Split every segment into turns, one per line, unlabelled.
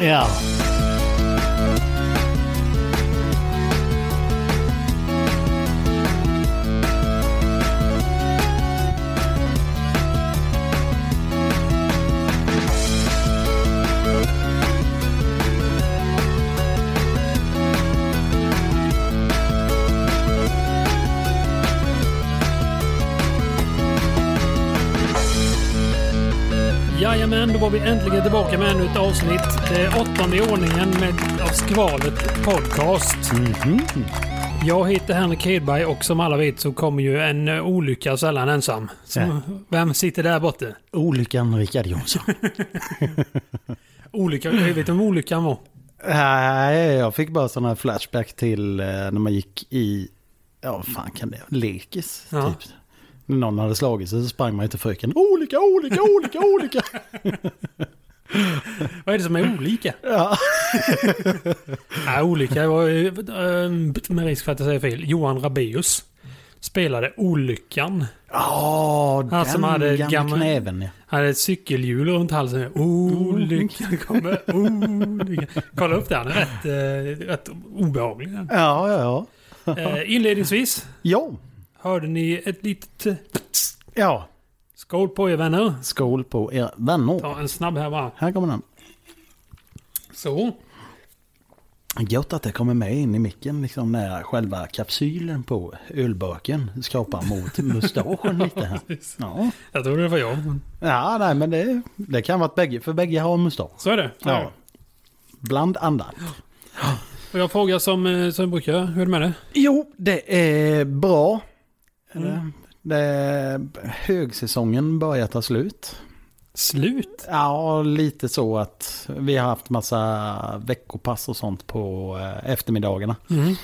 Ja.
Jajamän, då var vi äntligen tillbaka med ännu ett avsnitt. Det åttonde i ordningen med, av Skvalet Podcast.
Mhm.
Jag heter Henrik Hedberg och som alla vet så kommer ju en eh, olycka sällan ensam. Så,
Ja.
Vem sitter där borta?
Olyckan Rickard Jonsson.
Olycka, jag vet om olyckan var.
Nej, jag fick bara sådana flashback till eh, när man gick i, ja vad fan kan det lekis
Ja.
typ. När någon hade slagit sig så sprang man ju till fröken. Olika, olika, olika, olika.
Vad är det som är olika?
Ja.
Nej, olika var ju, eh, med risk för att jag säger fel, Johan Rabaeus spelade Olyckan.
Ja, den
Han som hade
gamla
gammal-
knäven. Ja.
Han hade ett cykelhjul runt halsen. Olyckan kommer, olyckan. Kolla upp det, han är rätt, eh, rätt obehaglig. den.
ja, ja, ja.
Eh, inledningsvis
Ja, hörde
hörde ni ett litet... eh,
ja.
Skål på er vänner.
Skål på er vänner.
Ta en snabb här bara.
Här kommer den.
Så.
Gött att det kommer med in i micken liksom när själva kapsylen på ölburken skrapar mot mustaschen lite här. Ja,
Jag trodde det var jag.
ja nej, men det, det kan vara att bägge, för bägge har en mustasch.
Så är det.
Ja. Bland annat.
Och jag frågar som, eh, som jag brukar göra. Hur är det med det?
Jo, det är bra. Mm. Det, högsäsongen börjar ta slut.
Slut.
Ja, lite så att vi har haft massa veckopass och sånt på eh, eftermiddagarna.
Mm.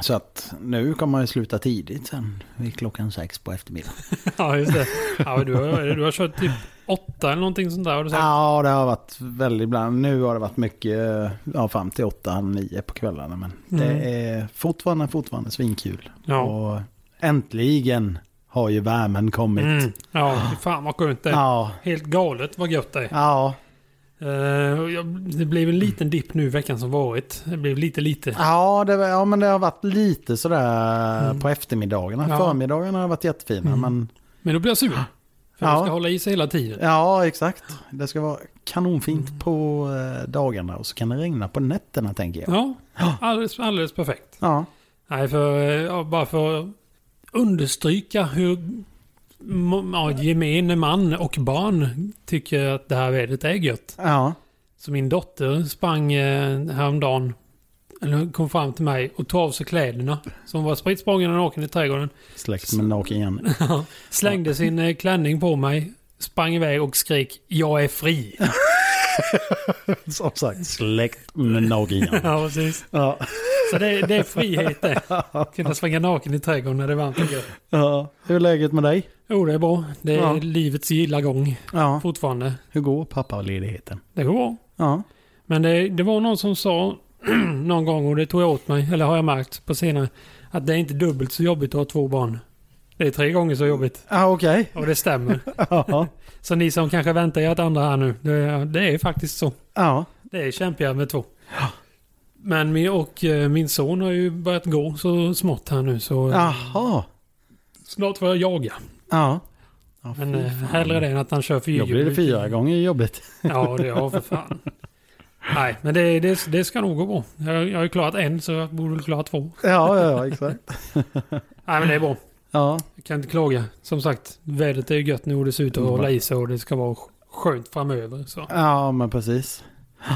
Så att nu kommer man ju sluta tidigt sen vid klockan sex på eftermiddagen.
Ja, just det. Ja, men du, har, du har kört typ åtta eller någonting sånt där. Har du sagt.
Ja, det har varit väldigt bland. Nu har det varit mycket, eh, ja fram till åtta, nio på kvällarna. Men det är fortfarande, fortfarande svinkul.
Mm. Ja.
Och äntligen har ju värmen kommit.
Mm. Ja, fy fan vad skönt det är.
Ja,
Helt galet vad gött det är.
ja,
Eh, och jag, det blev en liten dipp nu veckan som varit. Det blev lite lite.
Ja, det, var- ja, men det har varit lite sådär
Mm.
på eftermiddagarna.
Ja.
Förmiddagarna har varit jättefina.
Mm.
Men
Men då blir jag sur. För
Ja.
jag ska hålla i sig hela tiden.
ja, exakt. Det ska vara kanonfint
Mm.
på eh, dagarna och så kan det regna på nätterna tänker jag.
Ja, alldeles, alldeles perfekt.
Ja,
Nej, för, eh, ja, bara för att understryka hur må- ja, gemene man och barn tycker att det här vädret är gött.
ja,
Så min dotter sprang eh, häromdagen, eller hon kom fram till mig och tog av sig kläderna. Så hon var spritt språngande naken i trädgården.
släkt med naken igen.
Slängde sin eh, klänning på mig, sprang iväg och skrek “Jag är fri”.
Som sagt, släkt med naken igen.
Ja, precis.
Ja,
Så det, det är frihet det. Kunna svänga naken i trädgården när det är varmt och gött.
ja. Hur är läget med dig?
Jo, det är bra. Det är
Ja.
livets gilla gång
Ja,
fortfarande.
hur går pappaledigheten?
Det går bra.
Ja,
Men det, det var någon som sa någon gång och det tog jag åt mig, eller har jag märkt på senare, att det är inte dubbelt så jobbigt att ha två barn. Det är tre gånger så jobbigt.
ah, okej.
Och det stämmer.
Ja,
Så ni som kanske väntar ert andra här nu, det, det är faktiskt så.
ja,
Det är kämpigare med två. Men min, och eh, min son har ju börjat gå så smått här nu så
jaha.
snart får jag jaga.
Ja. Ja,
Men
fy
eh,
fan.
hellre det än att han kör
Då blir det
fyrhjuling.
fyra gånger jobbigt.
Ja, det ja för fan. Nej, men det, det, det ska nog gå bra. Jag, jag har ju klarat en så jag borde väl klara två.
Ja, ja, ja, exakt.
Nej, men det är bra.
Ja,
Jag kan inte klaga. Som sagt, vädret är ju gött nu och det ser ut att hålla i sig och det ska vara sk- skönt framöver. Så.
ja men precis.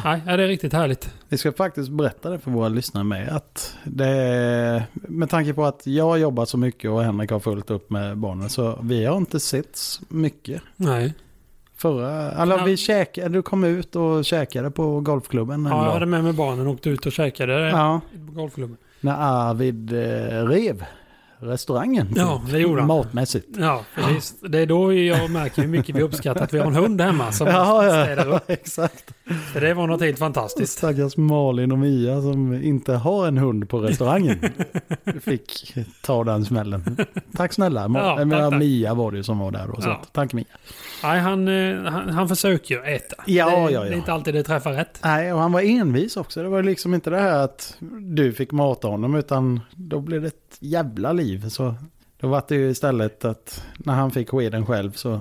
Nej, ja, det är riktigt härligt.
Vi ska faktiskt berätta det för våra lyssnare med. Att det, med tanke på att jag har jobbat så mycket och Henrik har fullt upp med barnen så vi har inte setts mycket.
Nej.
Förra, eller vi käkade, du kom ut och käkade på golfklubben en
Ja, jag
dag.
hade med mig barnen och åkte ut och käkade
ja,
på golfklubben.
när Arvid eh, rev restaurangen. typ,
Ja, det gjorde han.
Matmässigt.
Ja, precis. Det är då jag märker hur mycket vi uppskattar att vi har en hund hemma som
Ja, ja.
städar upp.
Exakt.
För det var något helt fantastiskt.
Stackars Malin och Mia som inte har en hund på restaurangen. Fick ta den smällen. Tack snälla. Ma-
Ja,
jag
tack,
menar,
tack.
Mia var det ju som var där då. Så
Ja.
att, tack Mia.
Nej, han, eh, han, han försöker ju äta.
Ja,
det,
ja, ja.
det är inte alltid det träffar rätt.
Nej, och han var envis också. Det var ju liksom inte det här att du fick mata honom utan då blev det ett jävla liv. Så då var det ju istället att när han fick skeden själv så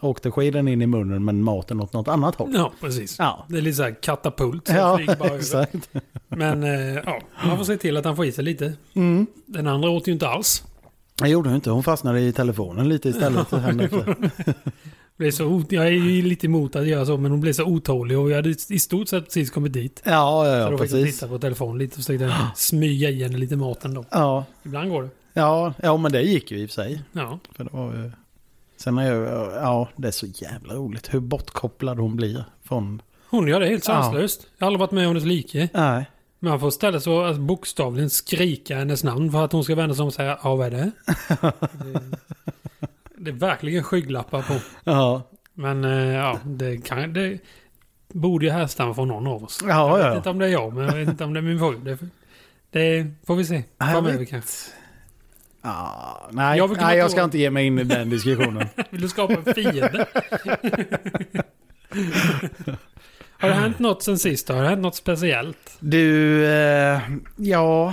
åkte skeden in i munnen men maten åt något annat håll.
Ja, precis.
Ja,
Det är lite så här katapult. som
ja
flyger bara över.
exakt.
Men eh, ja, man får se till att han får i sig lite.
Mm.
Den andra åt ju inte alls.
Det gjorde hon inte. Hon fastnade i telefonen lite istället. Henne efter.
Blev så, o- jag är ju lite emot att göra så, men hon blev så otålig och jag hade i stort sett precis kommit dit.
Ja, ja,
Så
ja
då fick jag
precis. Ah.
titta på telefonen lite och försökte smyga i henne lite mat ändå.
Ja,
Ibland går det.
ja, ja, men det gick ju i och för sig.
Ja,
För det var ju... Sen är jag, ja, det är så jävla roligt hur bortkopplad hon blir från...
hon gör det helt
Ja.
sanslöst. Jag har aldrig varit med om ett like.
Nej.
Men han får ställa sig och alltså, bokstavligen skrika hennes namn för att hon ska vända sig om och säga ja, vad är det? det, det är verkligen skygglappar på.
Ja,
Men eh, ja, det, kan, det borde ju härstamma från någon av oss.
ja,
jag
ja.
vet inte om det är jag, men jag vet inte om det är min fru. Det, det får vi se
jag
framöver
vet.
kanske.
Ah, nej,
Jag
jag,
vill komma
nej, jag ska
ihåg-
inte ge mig in i den diskussionen.
Vill du skapa en fiende? Har det hänt något sen sist? då? Har det hänt något speciellt?
du, eh, jag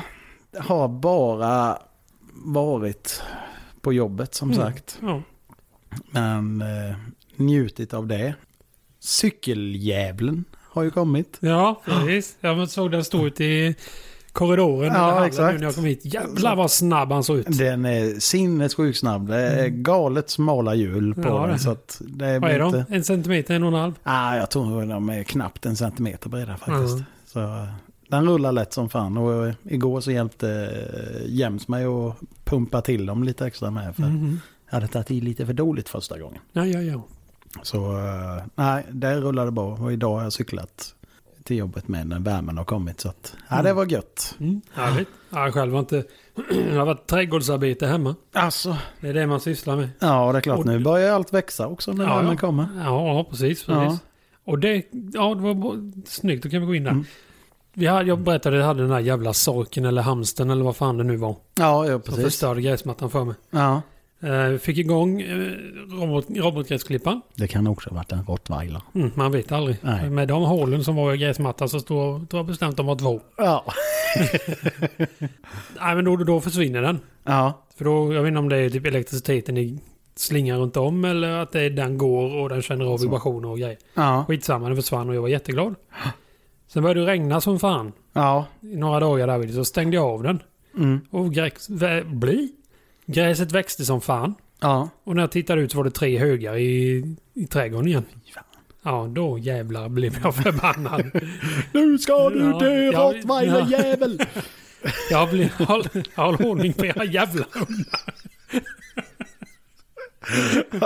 har bara varit på jobbet som
Mm.
sagt.
Ja.
Men eh, njutit av det. Cykeljävlen har ju kommit.
Ja, precis. Jag såg den stå ute i korridoren
Ja,
eller hallen
exakt.
nu när jag kom hit. Jävlar vad snabb han såg ut.
Den är sinnessjukt snabb. Det är galet smala hjul på
Ja, det-
den. Så att Mm. det
Vad är
blir
de?
inte-
En centimeter, en och en halv?
Ah, jag tror de är knappt en centimeter breda faktiskt.
Mm.
Så, eh, den rullar lätt som fan och eh, igår så hjälpte eh, Jems mig att pumpa till dem lite extra med. För
Mhm.
Jag hade tagit i lite för dåligt första gången.
Ja, ja, ja.
Så eh, nej, det rullade bra och idag har jag cyklat till jobbet med när värmen har kommit. Så att, ja, det var gött.
Mm. Härligt. Ja, jag själv har inte... Jag har varit trädgårdsarbete hemma.
Alltså,
Det är det man sysslar med.
ja det är klart
Och-
nu börjar allt växa också när
Ja,
värmen
ja.
kommer.
Ja, ja, precis.
Ja.
precis. Och det, ja, det var bo- snyggt. Då kan vi gå in där.
Mm.
Vi hade, jag berättade att jag hade den där jävla sorken eller hamsten eller vad fan det nu var.
Ja, ja
Som
precis.
förstörde gräsmattan för mig.
Ja.
Eh, vi fick igång eh, robot, robotgräsklipparen.
Det kan också ha varit en rottweiler.
Mm, man vet aldrig.
Nej.
Med de hålen som var i gräsmattan så står, tror jag bestämt de var två.
Ja.
Nej, men då, då försvinner den.
Ja.
För då, jag vet inte om det är typ elektriciteten i slingan runt om eller att det, är- den går och den känner av
Så.
vibrationer och grejer.
Ja.
Skitsamma, den försvann och jag var jätteglad. Sen började det regna som fan.
Ja.
i några dagar där vid, så stängde jag av den.
Mm.
Och gräs, vä, bli. gräset växte som fan.
Ja.
Och när jag tittade ut så var det tre högar i, i trädgården igen. Ja, då jävlar blev jag förbannad.
Nu ska
du Ja, dö, ja, rottweilerjävel!
rottweilerjävel!
Jag blev... Håll, håll ordning på era jävla...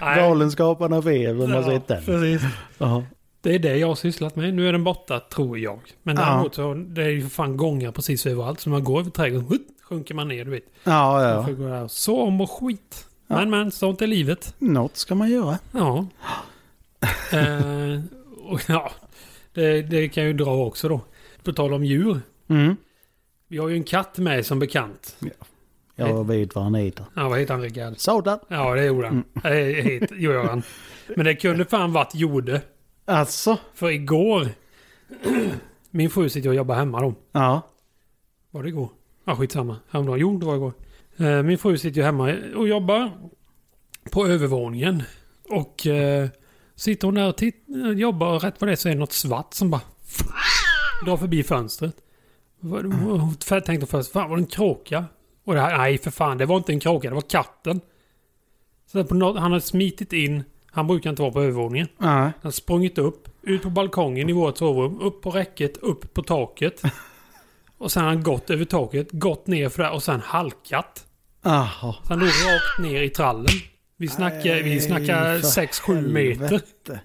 Nej,
Galenskaparna av er, om man
ja,
säger den.
Precis.
Ja.
Det är det jag har sysslat med. Nu är den borta, tror jag. Men
Ja.
däremot så det är ju för fan gångar precis överallt. Så när man går över trädgården, hutt, sjunker man ner, du vet.
Ja,
Man
ja.
får gå där och så om och skit.
Ja.
Men men, sånt är livet.
Något ska man göra.
Ja. eh, och, ja. Det, det kan jag ju dra också då. På tal om djur.
Mm.
Vi har ju en katt med som bekant.
Jag vet vad han heter.
Ja, vad heter han Rickard?
Sådan.
Ja, det gjorde
Mm.
han. Det eh, heter- gör han. Men det kunde fan varit gjorde.
Alltså.
För igår. Min fru sitter och jobbar hemma då.
Ja.
Var det igår? Ja, skitsamma. Häromdagen. Jo, det var igår. Eh, Min fru sitter ju hemma och jobbar på övervåningen. Och eh, sitter hon där och titt- eh, jobbar och rätt vad det är så är det något svart som bara drar förbi fönstret. Vad- Hon f- tänkte först, fan var det en kråka? Och det här, nej för fan, det var inte en kråka, det var katten. Så där på något, han har smitit in, han brukar inte vara på övervåningen.
Nej.
Han har sprungit upp, ut på balkongen i vårt sovrum, upp på räcket, upp på taket. Och sen har han gått över taket, gått ner för där och sen halkat.
Jaha.
Så han låg rakt ner i trallen. Vi snackar, vi
Nej,
snackar
för
6-7 meter.
helvete.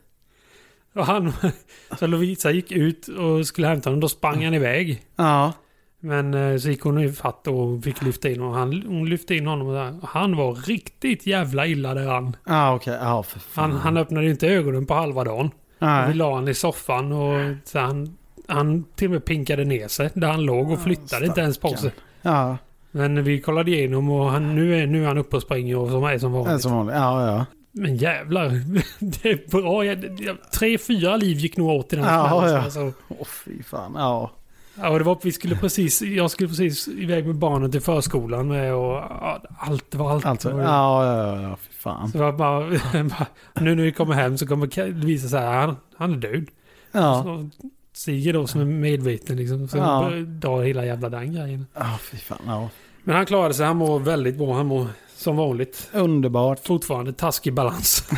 Och han, så Lovisa gick ut och skulle hämta honom, då sprang han iväg.
Ja.
Men eh, så gick hon ifatt och fick lyfta in honom. Han, hon lyfte in honom och där. han var riktigt jävla illa där han.
Ja, okej. Ja, för
Han,
fan.
han öppnade inte ögonen på halva dagen. Och vi
Nej.
la han i soffan och så han, han till och med pinkade ner sig där han låg och flyttade inte ens på sig.
stackarn. Ja,
Men vi kollade igenom och han, nu, är, nu är han uppe och springer och som är som
det är
vanligt.
som vanligt. Ja, ja.
Men jävlar, det är bra. Jag, jag, tre, fyra liv gick nog åt i den
Ja,
smällen,
ja.
Alltså.
Åh, fy fan. Ja.
Ja, och det var, vi skulle precis, jag skulle precis iväg med barnen till förskolan med och ja, allt var allt.
Alltså,
var,
ja, ja, ja, ja, fy fan.
Så det var bara, bara, nu när vi kommer hem så kommer Ka- det visa sig att han, han är död.
Ja,
Så Siger då som är medveten liksom. Så
Ja.
drar hela jävla den grejen.
ja fy fan. Ja.
Men han klarade sig. Han mår väldigt bra. Han mår som vanligt.
Underbart.
Fortfarande taskig balans.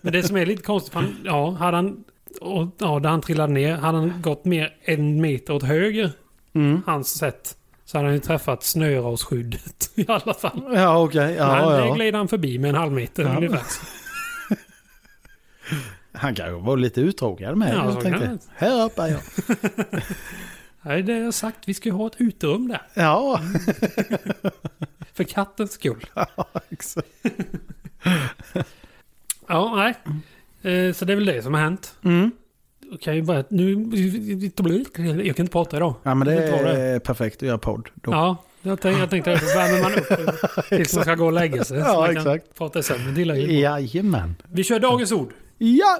Men det som är lite konstigt. för Han, ja, hade han, och, ja, där han trillade ner. Hade han gått mer en meter åt höger.
Mm.
Hans sätt. Så hade han ju träffat snörasskyddet i alla fall.
Ja, okej.
han,
Ja,
Det
ja.
gled han förbi med en halv meter
Ja.
ungefär.
Han kanske var lite uttråkad med.
Ja,
Ja,
så
jag
kan
tänkte,
det.
här uppe är jag.
Nej, det har jag sagt. Vi ska ju ha ett uterum där.
Ja,
För kattens skull.
exakt.
Ja, nej. Eh, Så det är väl det som har hänt.
Mm.
Jag kan ju bara... Nu, jag kan inte prata idag.
Ja, men det
Jag tar det.
är perfekt att göra podd. Då.
Ja, jag tänkte, jag tänkte att värmer man upp tills man ska gå och lägga sig. Så
Ja,
man kan
exakt.
prata sen. Men det gillar jag ju.
Jajamän.
Vi kör dagens ord.
Ja!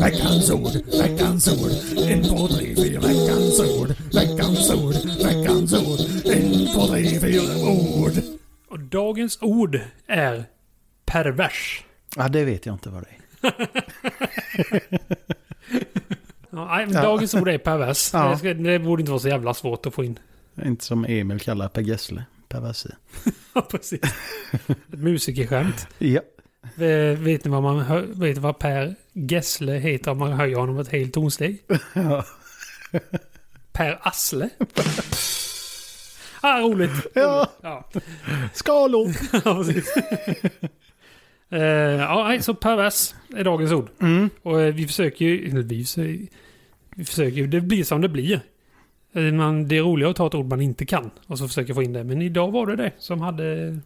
Veckans ord, veckans ord, en två tre fyra veckans ord, veckans ord, veckans ord, en två tre fyra ord.
Och dagens ord är pervers.
Ja, det vet jag inte vad det är.
Ja, nej, men
Ja.
dagens ord är pervers.
Ja.
Det, ska, det borde inte vara så jävla svårt att få in.
Inte som Emil kallar Per Gessle. Perversi.
Ja, precis. Ett musikerskämt.
Ja.
Eh, Vet ni vad, man hö- vet ni vad Per Gessle heter om man höjer honom ett helt tonsteg?
Ja.
Per Asle. Ah, roligt.
Ja.
Ja,
Skalor!
ja precis. Eh, ja, nej, så pervers är dagens ord.
Mm.
Och eh, vi försöker ju... eller Vi försöker, vi försöker ju... Det blir som det blir. Eh, Man, det är roligare att ta ett ord man inte kan och så försöka få in det. Men idag var det det som hade...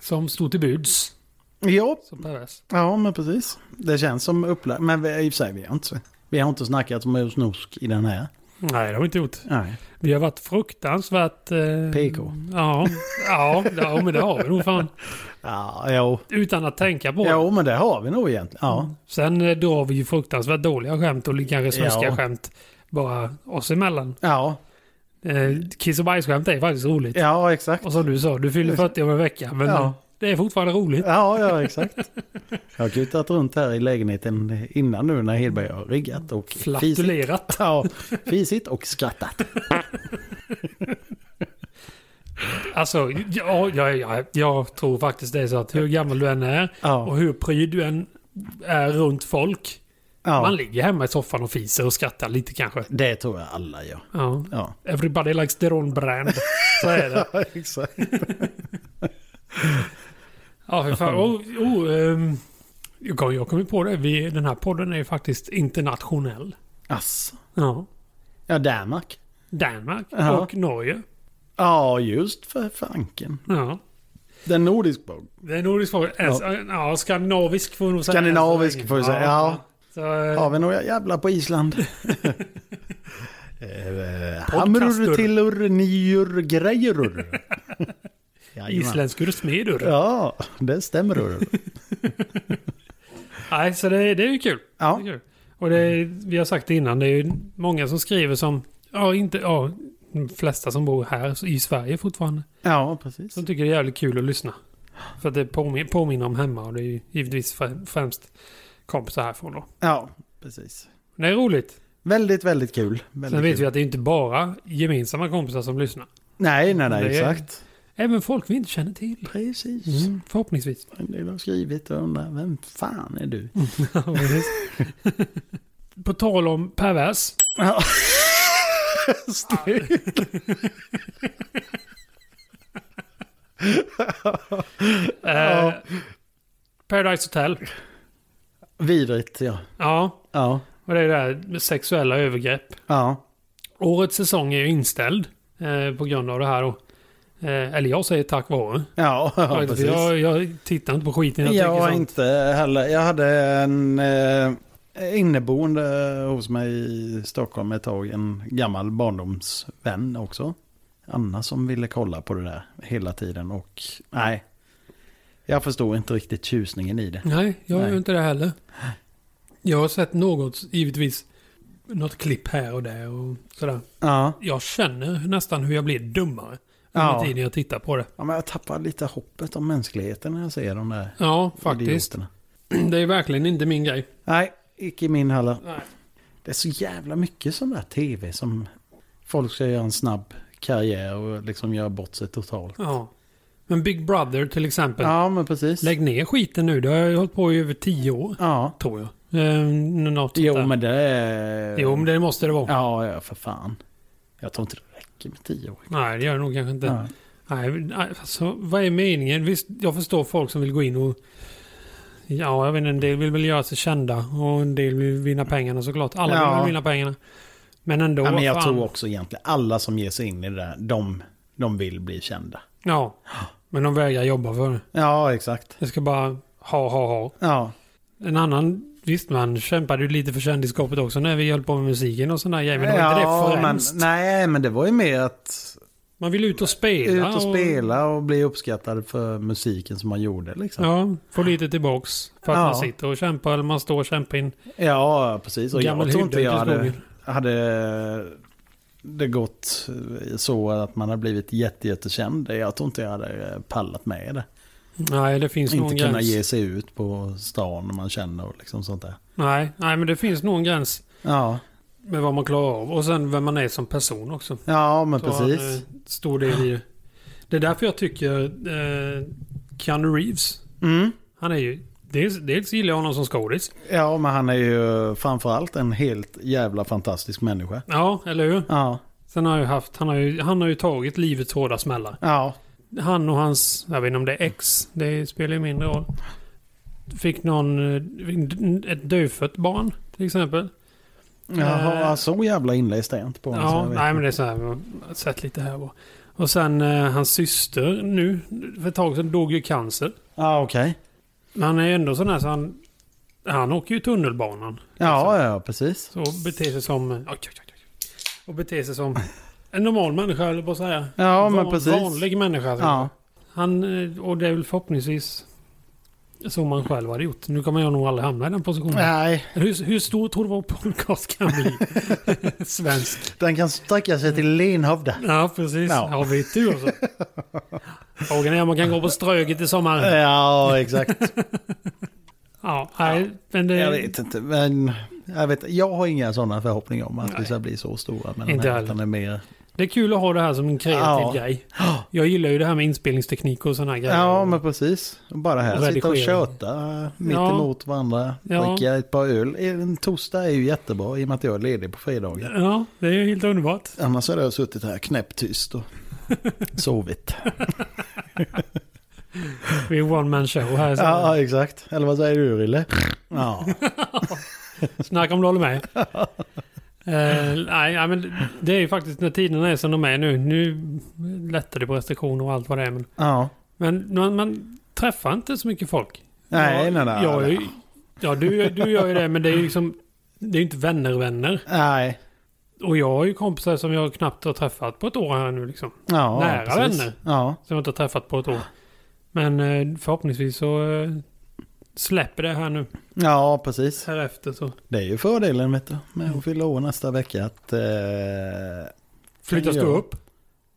Som stod till buds.
Ja,
Som pervers.
Ja, men precis. Det känns som upplagt. Men vi, i och för sig, vi har inte, vi har inte snackat om snusk i den här.
Nej, det har vi inte gjort.
Nej.
Vi har varit fruktansvärt... Eh,
PK.
Ja, ja, ja, men det har vi nog fan.
Ja, jo. Mm.
Utan att tänka på det.
jo, men det har vi nog egentligen. Ja,
Sen eh, drar vi ju fruktansvärt dåliga skämt och li- kanske svenska
Ja.
skämt bara oss emellan.
ja.
Eh, kiss och bajsskämt är faktiskt roligt.
ja exakt.
Och som du sa, du fyller 40 om en vecka. Men
Ja.
eh, det är fortfarande roligt.
Ja, ja, exakt. Jag har kutat runt här i lägenheten innan nu när Hedberg har riggat och fisit.
Flatulerat.
Ja, fisit och skrattat.
Alltså, ja, ja, ja, jag tror faktiskt det är så att hur gammal du än är och
Ja,
hur pryd du än är runt folk. Man
ja.
ligger hemma i soffan och fiser och skrattar lite kanske.
Det tror jag alla gör.
Ja.
Ja,
Everybody likes their own brand. Så är det.
exakt.
Ja, för fan. Oh, oh, ehm, jag kom- jag kom ju på det. Vi, den här podden är ju faktiskt internationell.
Asså.
Ja.
Ja, Danmark.
Danmark
Ja.
och Norge.
Ja, just för fanken.
Ja.
Den nordisk bok.
Det är nordisk folk. Ja. ja, skandinavisk får vi nog säga.
Skandinavisk får vi säga. Ja.
Så, eh,
Har vi några jävla på Island? Eh,
Podcastur.
Hamrur, tillur, niur, grejrur.
eh,
Jajamän.
isländskor smedur.
Ja, det stämmer. du.
Nej, så det, det är ju kul.
Ja.
Det är kul. Och det, är- vi har sagt det innan, det är ju många som skriver som, ja inte, ja, de flesta som bor här i Sverige fortfarande.
Ja, precis.
Som tycker det är jävligt kul att lyssna. För att det påminner, påminner om hemma och det är ju givetvis frä- främst kompisar härifrån då.
Ja, precis.
Det är roligt.
Väldigt, väldigt kul. Väldigt
Sen vet
kul.
vi att det är inte bara gemensamma kompisar som lyssnar.
Nej, nej, nej,
Det är-
exakt. Mm.
Även folk vi inte känner till.
Precis.
Förhoppningsvis.
En del har skrivit och undrar, vem fan är du?
På tal om pervers.
Ja. Stil.
Eh, Paradise Hotel.
Vidrigt, ja.
Ja,
Ja,
och det är det här med sexuella övergrepp.
ja.
Årets säsong är ju inställd eh, på grund av det här. Och, eh, eller jag säger tack vare.
Ja, ja
För
precis.
jag, jag tittar inte på skiten. Jag,
Jag
tycker
har
sånt.
inte heller. Jag hade en eh, inneboende hos mig i Stockholm ett tag, en gammal barndomsvän också. Anna som ville kolla på det där hela tiden och nej, jag förstår inte riktigt tjusningen i det.
Nej, jag gör
Nej.
inte det heller. Jag har sett något, givetvis, något klipp här och där och sådär.
Ja,
Jag känner nästan hur jag blir dummare.
Ja.
Under tiden jag tittar på det.
ja men jag tappar lite hoppet om mänskligheten när jag ser de där
Ja, faktiskt.
idioterna.
Det är verkligen inte min grej.
Nej, icke min heller.
Nej.
Det är så jävla mycket sån där tv som folk ska göra en snabb karriär och liksom göra bort sig totalt.
Ja. Men Big Brother till exempel.
Ja, men precis.
Lägg ner skiten nu. Det har jag hållit på i över tio år.
Ja.
Tror jag. Eh, något sånt
Jo,
där.
men det är...
jo, men det måste det vara.
Ja, ja, för fan. Jag tror inte det räcker med tio år.
Nej, det gör det nog kanske inte.
Ja.
Nej, nej, alltså, vad är meningen? Visst, jag förstår folk som vill gå in och... Ja, jag vet inte, en del vill väl göra sig kända och en del vill vinna pengarna såklart. Alla
Ja.
vill väl vinna pengarna. Men ändå,
Ja, men jag
fan.
tror också egentligen alla som ger sig in i det där, de, de vill bli kända.
Ja, men de vägrar jobba för det.
Ja, exakt.
Jag ska bara ha, ha, ha.
Ja,
En annan, visst man kämpade ju lite för kändisskapet också när vi höll på med musiken och sådana grejer. Men det var
Ja,
inte
men,
det främst.
nej, men det var ju mer att
Man vill ut och spela.
ut och spela och bli uppskattad för musiken som man gjorde. Liksom.
Ja, få lite tillbaks. För att
Ja.
man sitter och kämpar eller man står och kämpar in
Ja, precis. Och
gammal
jag tror inte
hydda
jag
ute i
hade,
skogen.
hade det gått så att man hade blivit jätte, jättekänd. Jag tror inte jag hade pallat med det.
Nej, det finns nog
Inte
en
kunna
gräns.
ge sig ut på stan när man känner och liksom sånt där.
Nej, nej, men det finns nog en gräns
Ja,
med vad man klarar av. Och sen vem man är som person också.
ja men
Så han, eh,
precis.
Stor del i det. Det är därför jag tycker eh, Keanu Reeves.
Mm.
Han är ju... Dels, dels gillar jag honom som skådis.
Ja, men han är ju framförallt en helt jävla fantastisk människa.
Ja, eller hur?
Ja,
Sen har jag ju haft... Han har ju, han har ju tagit livets hårda smällar.
ja,
Han och hans... Jag vet inte om det är ex. Det spelar ju mindre roll. Fick någon... eh, Ett dödfött barn till exempel.
Jaha,
Eh.
så jävla inläst är jag inte på honom. så
Ja,
jag vet
nej
inte.
men det är så här. Jag har sett lite här och Och sen eh, hans syster nu, för ett tag sedan, dog ju i cancer.
Ja, okej.
Men han är ju ändå sån här så han... Han åker ju tunnelbanan.
Ja, ja, precis.
Så beter sig som... Oj, oj, oj, oj. Och beter sig som en normal människa, eller vad säga.
Ja, men
Van-
precis.
Vanlig människa. så.
Ja.
Han, eh, och det är väl förhoppningsvis som man själv hade gjort. Nu kommer jag nog aldrig hamna i den positionen.
Nej,
Hur, hur stor tror du vår podcast kan bli? Svensk.
den kan sträcka sig till Lenhovda.
Ja, precis.
Ja.
Har vi tur så. Frågan är om man kan gå på Ströget i sommar.
Ja, exakt.
Ja, nej, men det...
Jag vet inte, men jag, vet, jag har inga sådana förhoppningar om att vi ska bli så stora. Men
Inte
den här,
heller.
utan det är mer...
Det är kul att ha det här som en kreativ
Ja.
grej. Jag gillar ju det här med inspelningsteknik och sådana här grejer.
Ja, men precis. Bara här,
Och
sitta och
redigering.
köta mitt
Ja.
emot varandra.
Ja.
Dricka ett par öl. Eh, En torsdag är ju jättebra i och med att jag är ledig på fredagar.
Ja, det är ju helt underbart.
Annars hade jag suttit här knäpptyst och sovit.
Vi är one man show här. Så
Ja, exakt. Eller vad säger du, Rille? Ja,
Snacka om du håller med. Eh, nej, nej, men det är ju faktiskt när tiderna är som de är nu. Nu lättar det på restriktioner och allt vad det är. Men,
ja.
men man, man träffar inte så mycket folk.
Nej, nej, nej.
Jag är ju, ja, du, du gör ju det, men det är ju liksom... Det är ju inte vänner-vänner.
Nej.
Och jag har ju kompisar som jag knappt har träffat på ett år här nu liksom.
Ja,
Nära
precis.
vänner.
Ja.
Som jag inte har träffat på ett år. Men eh, förhoppningsvis så eh, släpper det här nu.
ja, precis.
Här efter så
Det är ju fördelen vet du, med att fylla år nästa vecka. Att, eh,
flyttas du
jag-
upp.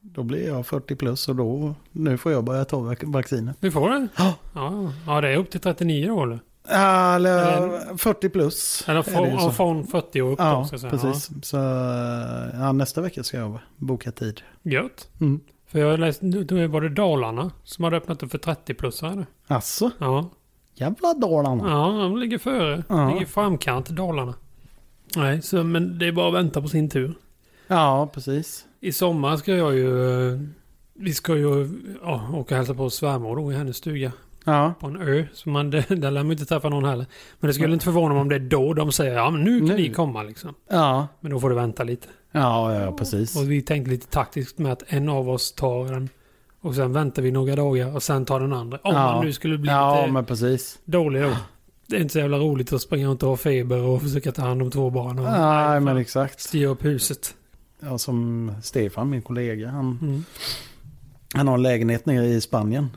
Då blir jag 40 plus och då, nu får jag börja ta vac- vaccinet.
Vi får det.
Ja.
Ja, ja, det är upp till 39 då eller?
Eller 40 plus.
Eller
är det ju
från,
så.
från 40 och upp då,
Ja,
ska jag säga.
precis. Så ja, nästa vecka ska jag boka tid.
Ja, gött.
Mm.
För jag har läst, nu nu var det Dalarna som hade öppnat upp för 30-plussare.
Alltså,
Ja.
jävla Dalarna.
ja, de ligger före.
Ja.
Ligger i framkant, Dalarna. Nej, så, men det är bara att vänta på sin tur.
Ja, precis.
I sommar ska jag ju... eh, Vi ska ju ja, åka och hälsa på svärmor då i hennes stuga
Ja.
på en ö. Så man, där där lär man inte träffa någon heller. Men det skulle inte förvåna mig om det är då de säger ja men nu kan
Nu.
ni komma liksom.
Ja.
Men då får du vänta lite.
Ja, ja, precis.
Och vi tänkte lite taktiskt med att en av oss tar den och sen väntar vi några dagar och sen tar den andra. Om
Ja.
man nu skulle bli
Ja,
lite
men precis.
dålig då. Det är inte så jävla roligt att springa runt och ha feber och försöka ta hand om två barn och
Nej, men exakt.
styra upp huset.
Ja, som Stefan, min kollega, han,
Mm.
han har en lägenhet nere i Spanien.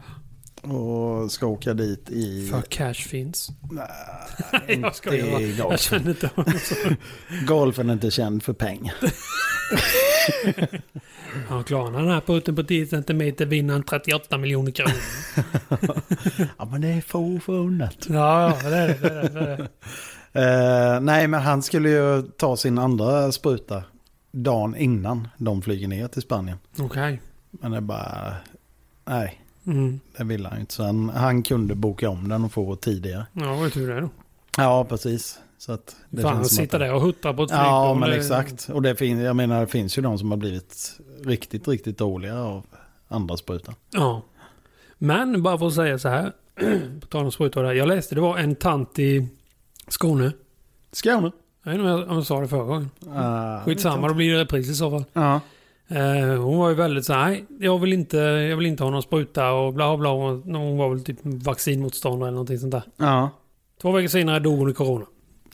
Och ska åka dit i...
För cash finns.
Nej,
jag skojar bara.
i
Jag
golfen.
känner inte honom så.
Golfen är inte känd för pengar.
Ja, klarar han den här putten på 10 centimeter vinner han 38 miljoner kronor.
Ja, men det är få förunnat.
Ja, ja, det är det. det, är det, det, är det.
Eh, nej, men han skulle ju ta sin andra spruta dagen innan de flyger ner till Spanien.
Okej.
Men det är bara... Nej,
Mm.
det ville han ju inte. Så han, han kunde boka om den och få tidigare.
Ja, det var ju tur det då.
Ja, precis. Så att det
Fan, han
som
sitter
att-
där och huttar på ett
Ja,
flygplan.
men
Det-
exakt. Och det finns, jag menar, det finns ju de som har blivit riktigt, riktigt dåliga av andra sprutan.
Ja. Men bara för att säga så här. på tal om sprutor där. Jag läste det var en tant i Skåne.
Skåne.
Jag vet inte om jag, om jag sa det förra gången.
Uh,
Skitsamma, då blir det repris i så fall.
Ja.
Eh, hon var ju väldigt så här, nej, jag vill inte, jag vill inte ha någon spruta och bla bla. Hon, hon var väl typ vaccinmotståndare eller någonting sånt där.
Ja.
Två veckor senare dog hon i corona.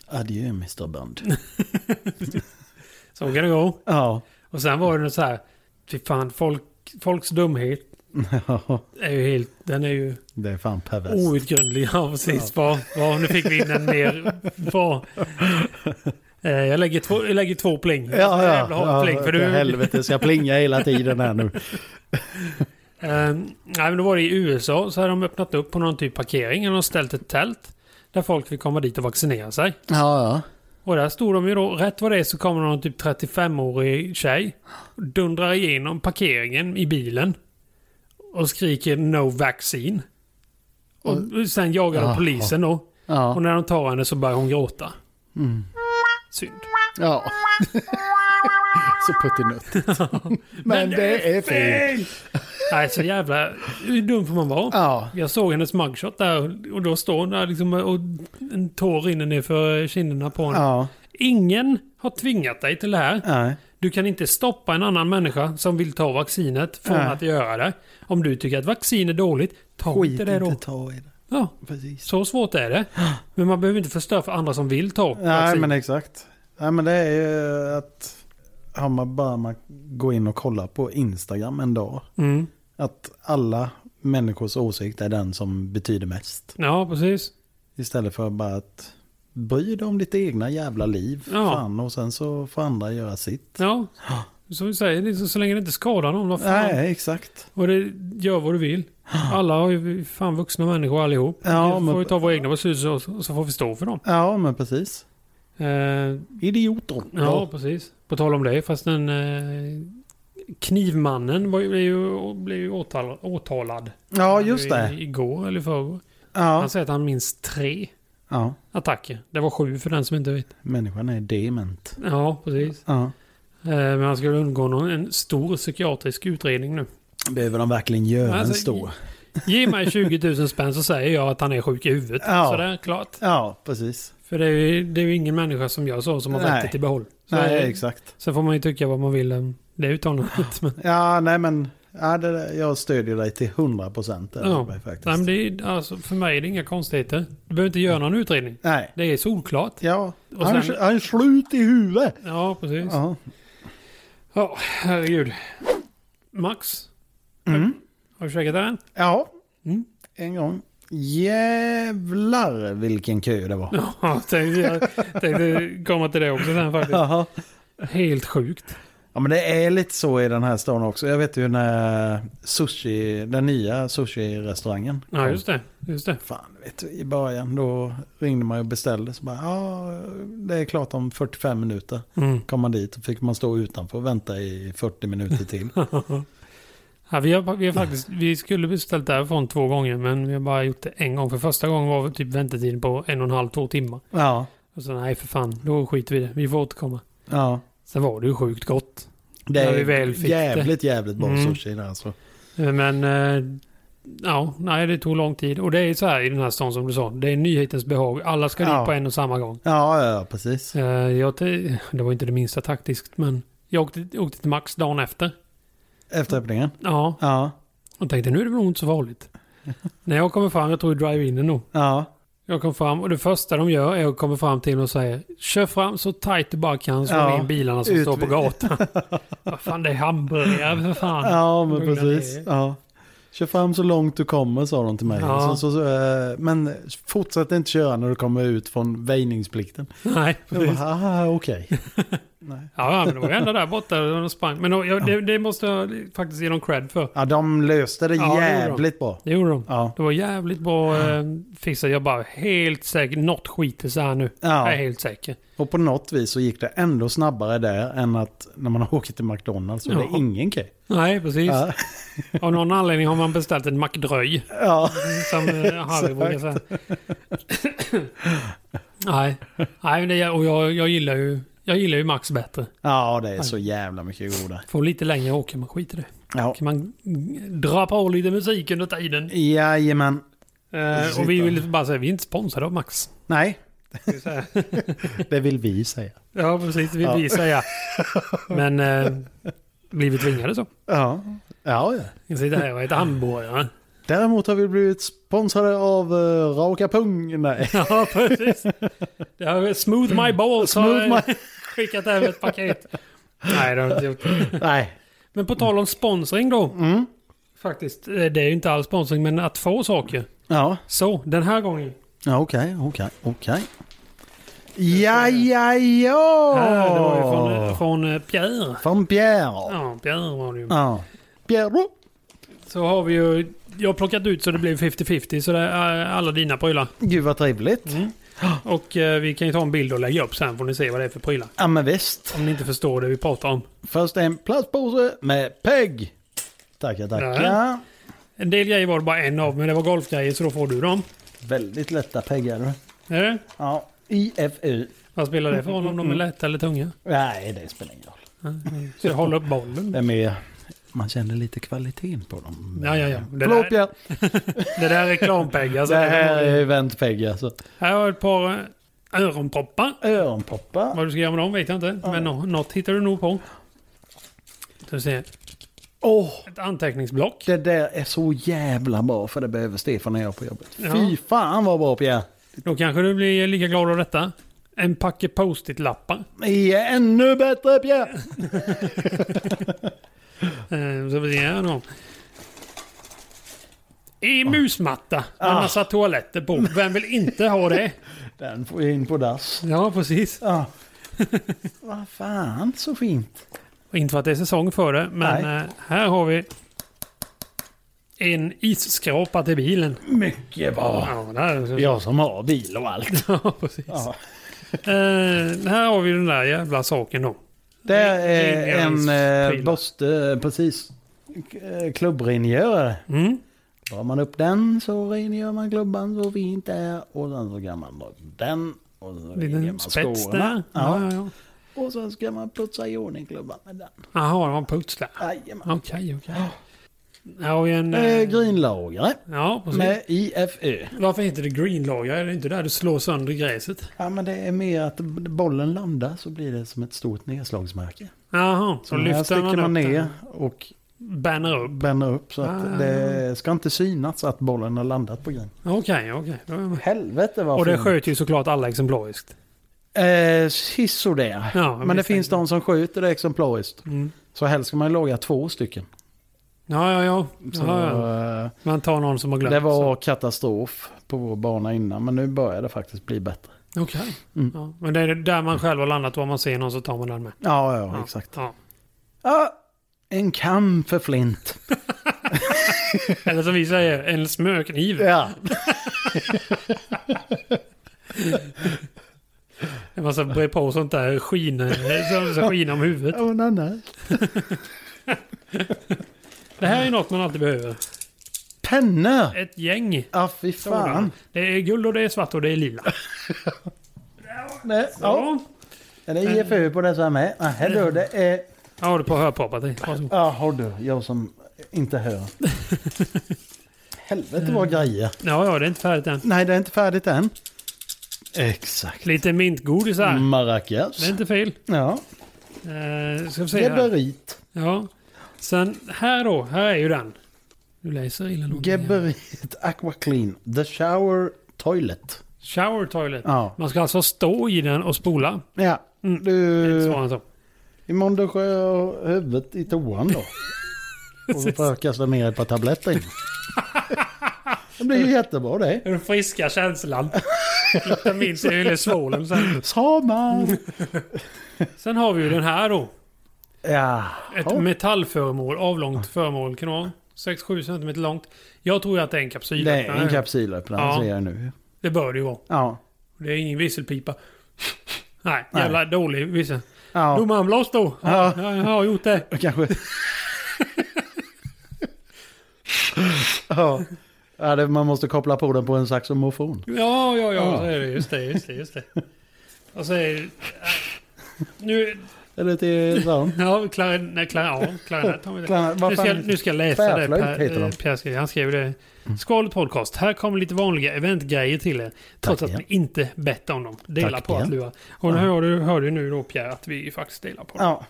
Adjö, Mr. Bond.
Så kan det gå.
Ja.
Och sen var det något så här, fy fan, folk, folks dumhet är ju helt, den är ju
det är fan perverst.
outgrundlig. Ja, precis. Vad, vad, Oh, nu fick vi in den mer. Vad. Eh, jag, lägger två, jag lägger två pling.
Ja, ja.
Jävla ja, pling,
ja
för du,
Helvete, ska jag plinga hela tiden här nu?
Eh, nej, men då var det i USA så hade de öppnat upp på någon typ parkering och de ställt ett tält där folk fick komma dit och vaccinera sig.
Ja, ja.
Och där stod de ju då, rätt vad det är så kommer någon typ 35-årig tjej och dundrar igenom parkeringen i bilen och skriker no vaccine. Och sen jagar de
Jaha.
polisen då. Och
Ja.
när de tar henne så börjar hon gråta.
Mm.
Synd.
ja. Så puttinuttigt. Men det är fel.
Nej, så jävla... Hur dum får man vara?
Ja.
Jag såg hennes mugshot där och då står hon där liksom och en tår rinner ner för kinderna på henne.
Ja.
Ingen har tvingat dig till det här.
Nej.
Du kan inte stoppa en annan människa som vill ta vaccinet från
Nej.
att göra det. Om du tycker att vaccin är dåligt, ta inte det då.
ta i det.
Ja,
Precis.
så svårt är det. Men man behöver inte förstöra för andra som vill ta
Nej,
vaccin.
men exakt. Nej, men det är ju att... Har man bara man går in och kollar på Instagram en dag.
Mm.
Att alla människors åsikt är den som betyder mest.
Ja, precis.
Istället för bara att bry dig om ditt egna jävla liv.
Ja.
Fan, och sen så får andra göra sitt.
Ja, som vi säger, det är så, så länge det inte skadar någon. Vad fan?
Nej, exakt.
Och det gör vad du vill. Alla har ju fan vuxna människor allihop.
Ja,
vi
men-
får ju ta våra egna beslut så, så får vi stå för dem.
Ja, men precis.
Eh,
Idioter.
Ja, precis. På tal om det, fast den eh, knivmannen var ju, blev ju, blev ju åtal, åtalad.
ja just det.
I, igår eller i förrgår.
Ja.
Han säger att han minns tre
ja,
attacker. Det var sju för den som inte vet.
människan är dement.
Ja, precis.
Ja.
Eh, men han skulle undgå någon, en stor psykiatrisk utredning nu.
Behöver de verkligen göra
Alltså,
en stor?
Ge mig 20 000 spänn så säger jag att han är sjuk i huvudet.
Ja.
Så det är klart.
Ja, precis.
För det är, ju, det är ju ingen människa som gör så som har
Nej.
vettet i behåll. Så är
Nej,
det.
exakt.
Sen får man ju tycka vad man vill om det uttalandet. Men,
Ja, nej men ja, det, där- jag stödjer dig till 100 procent.
Ja.
Faktiskt.
nej, men det är, alltså, för mig är det inga konstigheter. Du behöver inte göra någon utredning.
nej.
Det är solklart.
Ja,
Och
han,
sen-
han är slut i huvudet.
Ja, precis. Ja,
Ja.
herregud. Max,
Mm.
har du käkat den?
ja,
Mm.
en gång. Jävlar vilken kö det var.
Ja, jag tänkte, jag tänkte komma till det också sen faktiskt.
Ja.
Helt sjukt.
ja, men det är lite så i den här stan också. Jag vet ju när sushi, den nya sushi-restaurangen
Ja, just det. Just det.
Fan, vet du, i början då ringde man och beställde. Så bara, ja, det är klart om 45 minuter.
Mm.
Kom man dit och fick man stå utanför och vänta i 40 minuter till.
Ja, vi, har, vi, har faktiskt, vi skulle beställt därifrån två gånger men vi har bara gjort det en gång. För första gången var typ väntetiden på en och en halv, två timmar.
Ja,
Och så nej för fan, då skiter vi i det. Vi får återkomma.
ja.
Sen var det ju sjukt gott.
Det
När
är
vi väl fick
jävligt, jävligt bra
Mm.
sushi där alltså.
Men eh, ja, nej det tog lång tid. Och det är så här i den här stan som du sa. Det är nyhetens behag. Alla ska
Ja.
dit på en och samma gång.
Ja, ja, ja, precis.
Eh, jag, t- det var inte det minsta taktiskt men jag åkte, åkte till Max dagen efter.
Efter öppningen.
Ja,
Ja,
och tänkte nu är det väl nog inte så farligt. När jag kommer fram, jag tror drive-inen nog.
ja.
Jag kom fram och det första de gör är att komma fram till mig och säger Kör fram så tajt du bara kan så
Ja,
in bilarna som
ut-
står på gatan. Vad fan det är hamburgare för fan.
Ja, men
Lugna
precis.
ner er.
Ja. Kör fram så långt du kommer, sa de till mig.
Ja.
Så, så, så, eh, men fortsätt inte köra när du kommer ut från väjningsplikten.
Nej,
Jag
precis.
bara, "Ah, okej.
Ja, men det var ju ändå där borta där de sprang. Men ja, det, det måste jag faktiskt ge dem cred för.
Ja, de löste det
Ja, det gjorde de.
jävligt bra.
Det gjorde de.
Ja.
Det var jävligt bra eh, fixat. Jag bara helt säker. Något skiter sig här nu. Jag är
Ja.
helt säker.
Och på något vis så gick det ändå snabbare där än att när man åker till McDonalds och det
Ja.
är ingen kö.
Nej, precis.
Ja.
Av någon anledning har man beställt en McDröj.
Ja.
Som eh, Harry brukar säga. Nej, Nej men det, och jag, jag, gillar ju, jag gillar ju Max bättre.
ja, det är så jävla mycket goda.
Får lite längre åka, men skit i det.
Ja.
Kan man mm, dra på lite musik under tiden.
Jajamän.
Eh, och vi vill bara säga, vi är inte sponsrade av Max.
Nej,
Ska vi säga.
det vill vi säga.
Ja, precis. Det vill
Ja.
vi säga. Men eh, blir vi tvingade så.
Ja. Ja, ja.
Jag sitter här och äter hamburgare.
Däremot har vi blivit sponsrade av uh, Raka Pung. Nej.
Ja, precis. Det har smooth my balls
Smooth
har eh, skickat över ett paket. Nej, det har jag inte gjort.
Nej.
Men på tal om sponsring då.
Mm.
Faktiskt, eh, det är ju inte alls sponsring, men att få saker.
Ja,
Så, den här gången.
ja okej, okej, okej. Ja, ja, ja!
Här, det var ju från, eh, från eh, Pierre.
Från Pierre.
Ja, Pierre var det ju.
Ja. Pierre.
Så har vi ju... Jag har plockat ut så det blev 50-50, så det är eh, alla dina prylar.
Gud vad trevligt.
Och eh, vi kan ju ta en bild och lägga upp sen får ni se vad det är för prylar.
Ja men visst.
Om ni inte förstår det vi pratar om.
Först en plastpåse med PEG. Tackar, tackar.
Ja. En del grejer var det bara en av, men det var golfgrejer så då får du dem.
Väldigt lätta PEGgar.
Är det?
Ja, IFU.
Vad spelar det för roll om de är lätta eller tunga?
Nej, det spelar ingen roll.
Så jag håller upp bollen.
Det är mer, man känner lite kvaliteten på dem.
Ja, ja, ja. Det
Förlåt
där,
Pierre.
det där är alltså. reklampengar. så
Det här
det
är event-PEG alltså.
här har jag ett par eh, öronproppar.
Öronpoppar.
Vad du ska göra med dem vet jag inte, men nå- något hittar du nog på. Ska vi se.
Åh,
Ett anteckningsblock.
det där är så jävla bra för det behöver Stefan och jag på jobbet.
Ja.
Fy fan vad bra Pierre.
Då kanske du blir lika glad av detta. En packe post-it-lappar.
Ni är ännu bättre Pierre.
Eh, Så vi ser här då. I musmatta med
Ah.
massa toaletter på. Vem vill inte ha det?
Den får jag in på dass.
Ja, precis.
Ja. vad fan så fint.
Och Inte för att det är säsong för det, men
Nej.
eh, här har vi en isskrapa till bilen.
Mycket bra.
Ja, där.
Jag som har bil och allt.
Ja, precis.
Ah. Ja.
Eh, här har vi den där jävla saken då.
Det är en eh,
Rengöringsprylar.
Boste, precis. K- eh, Klubbrengörare.
Mm.
Drar man upp den så rengör man klubban så fint där. Och sen så kan man dra den. Och så rengör man
Liten spets
skorna.
där.
Ja.
Ja. Ja, ja.
Och sen ska man putsa i ordning klubban med den.
Jaha, det var en puts där.
Jajamän.
Okej, okej. Här har vi en...
Eh,
eh,
Grynlagre
Ja, precis.
med IFÖ.
Varför heter det greenlager? Är det inte där du slår sönder gräset?
Ja men det är mer att bollen landar så blir det som ett stort nedslagsmärke.
Jaha, så
Så här
lyfter
sticker
man,
man
upp
ner
den.
och
Bannar upp.
bänder upp så att
Ah.
det ska inte synas att bollen har landat på grön.
Okej, okej. Då är jag med.
Helvete vad
Och det
fin.
sköt ju såklart alla exemplariskt.
Eh, sisådär.
Ja,
men det
visst.
finns de som skjuter det exemplariskt.
Mm.
Så helst ska man laga två stycken.
Ja, ja, ja.
Så,
ja, ja.
eh,
Man tar någon som har glömt.
Det var katastrof på vår bana innan men nu börjar det faktiskt bli bättre.
så. Okej.
Mm.
Ja, men det är där man själv har landat och om man ser någon så tar man den med.
Ja, ja, exakt.
Ja.
Ja, en kam för flint.
Eller som vi säger, en smörkniv.
Ja.
En massa brer på sånt där eh, skiner, som- som skiner om huvudet.
Och annars.
Det här är något man alltid behöver.
Pennor!
Ett gäng.
Ja, fy
sådana.
fan.
Det är guld och det är svart och det är lila.
Nej, ja.
Ja.
Är det IFU på dessa med? Nej, du, det Eh, är...
Ja, har du på hörpappat i. Varsågod.
Jaha du, jag som inte hör. Helvete vad grejer.
Ja, ja, det är inte färdigt än.
Nej, det är inte färdigt än. Exakt.
Lite mintgodis här.
Mm. Maracas.
Det är inte fel.
Ja,
Eh, ska vi se här.
geberit.
Ja. Sen här då. Här är ju den. Du läser illa nog.
Geberit Aqua Clean. The shower toilet.
Shower toilet.
Ja.
Man ska alltså stå i den och spola.
Ja,
Mm.
du...
Svarar han så.
Imorgon duschar jag huvudet i toan då. Och så får jag kasta ner ett par tabletter in. Det blir ju jättebra det.
Den friska känslan. Luktar minst i hela svålen sen.
Samma!
Sen har vi ju den här då.
Ja.
Ett
Ja.
metallföremål. Avlångt föremål. Kan det vara 6-7 cm långt. Jag tror ju att det är en kapsyl.
Det är en kapsylöppnare
Ja.
ser jag nu.
Det bör det ju vara.
Ja.
Det är ingen visselpipa. Nej,
Nej.
jävla dålig vissel.
Ja.
Domaren blås då. Ja,
Ja.
jag har gjort det.
Kanske... ja. Ja, det, man måste koppla på den på en saxofon.
Ja, ja, ja.
Ja.
Så är det. Just det, just det, just det. Och så är det... Nu...
Eller till sån.
Ja, klarin, nej, klarin, ja, klarinett har vi det.
Klar- vad
Nu ska,
fan-
nu ska jag läsa det
Tvärflöjt
Per,
heter de. Mm.
eh, Pierre skrev. Han skrev det. Skål podcast. Här kommer lite vanliga eventgrejer till er. Trots
Tack
att
igen.
ni inte bett om dem. Dela
Tack
på att
igen.
lura. Och nu hör du, hör du nu då Pierre att vi faktiskt delar på det.
Ja.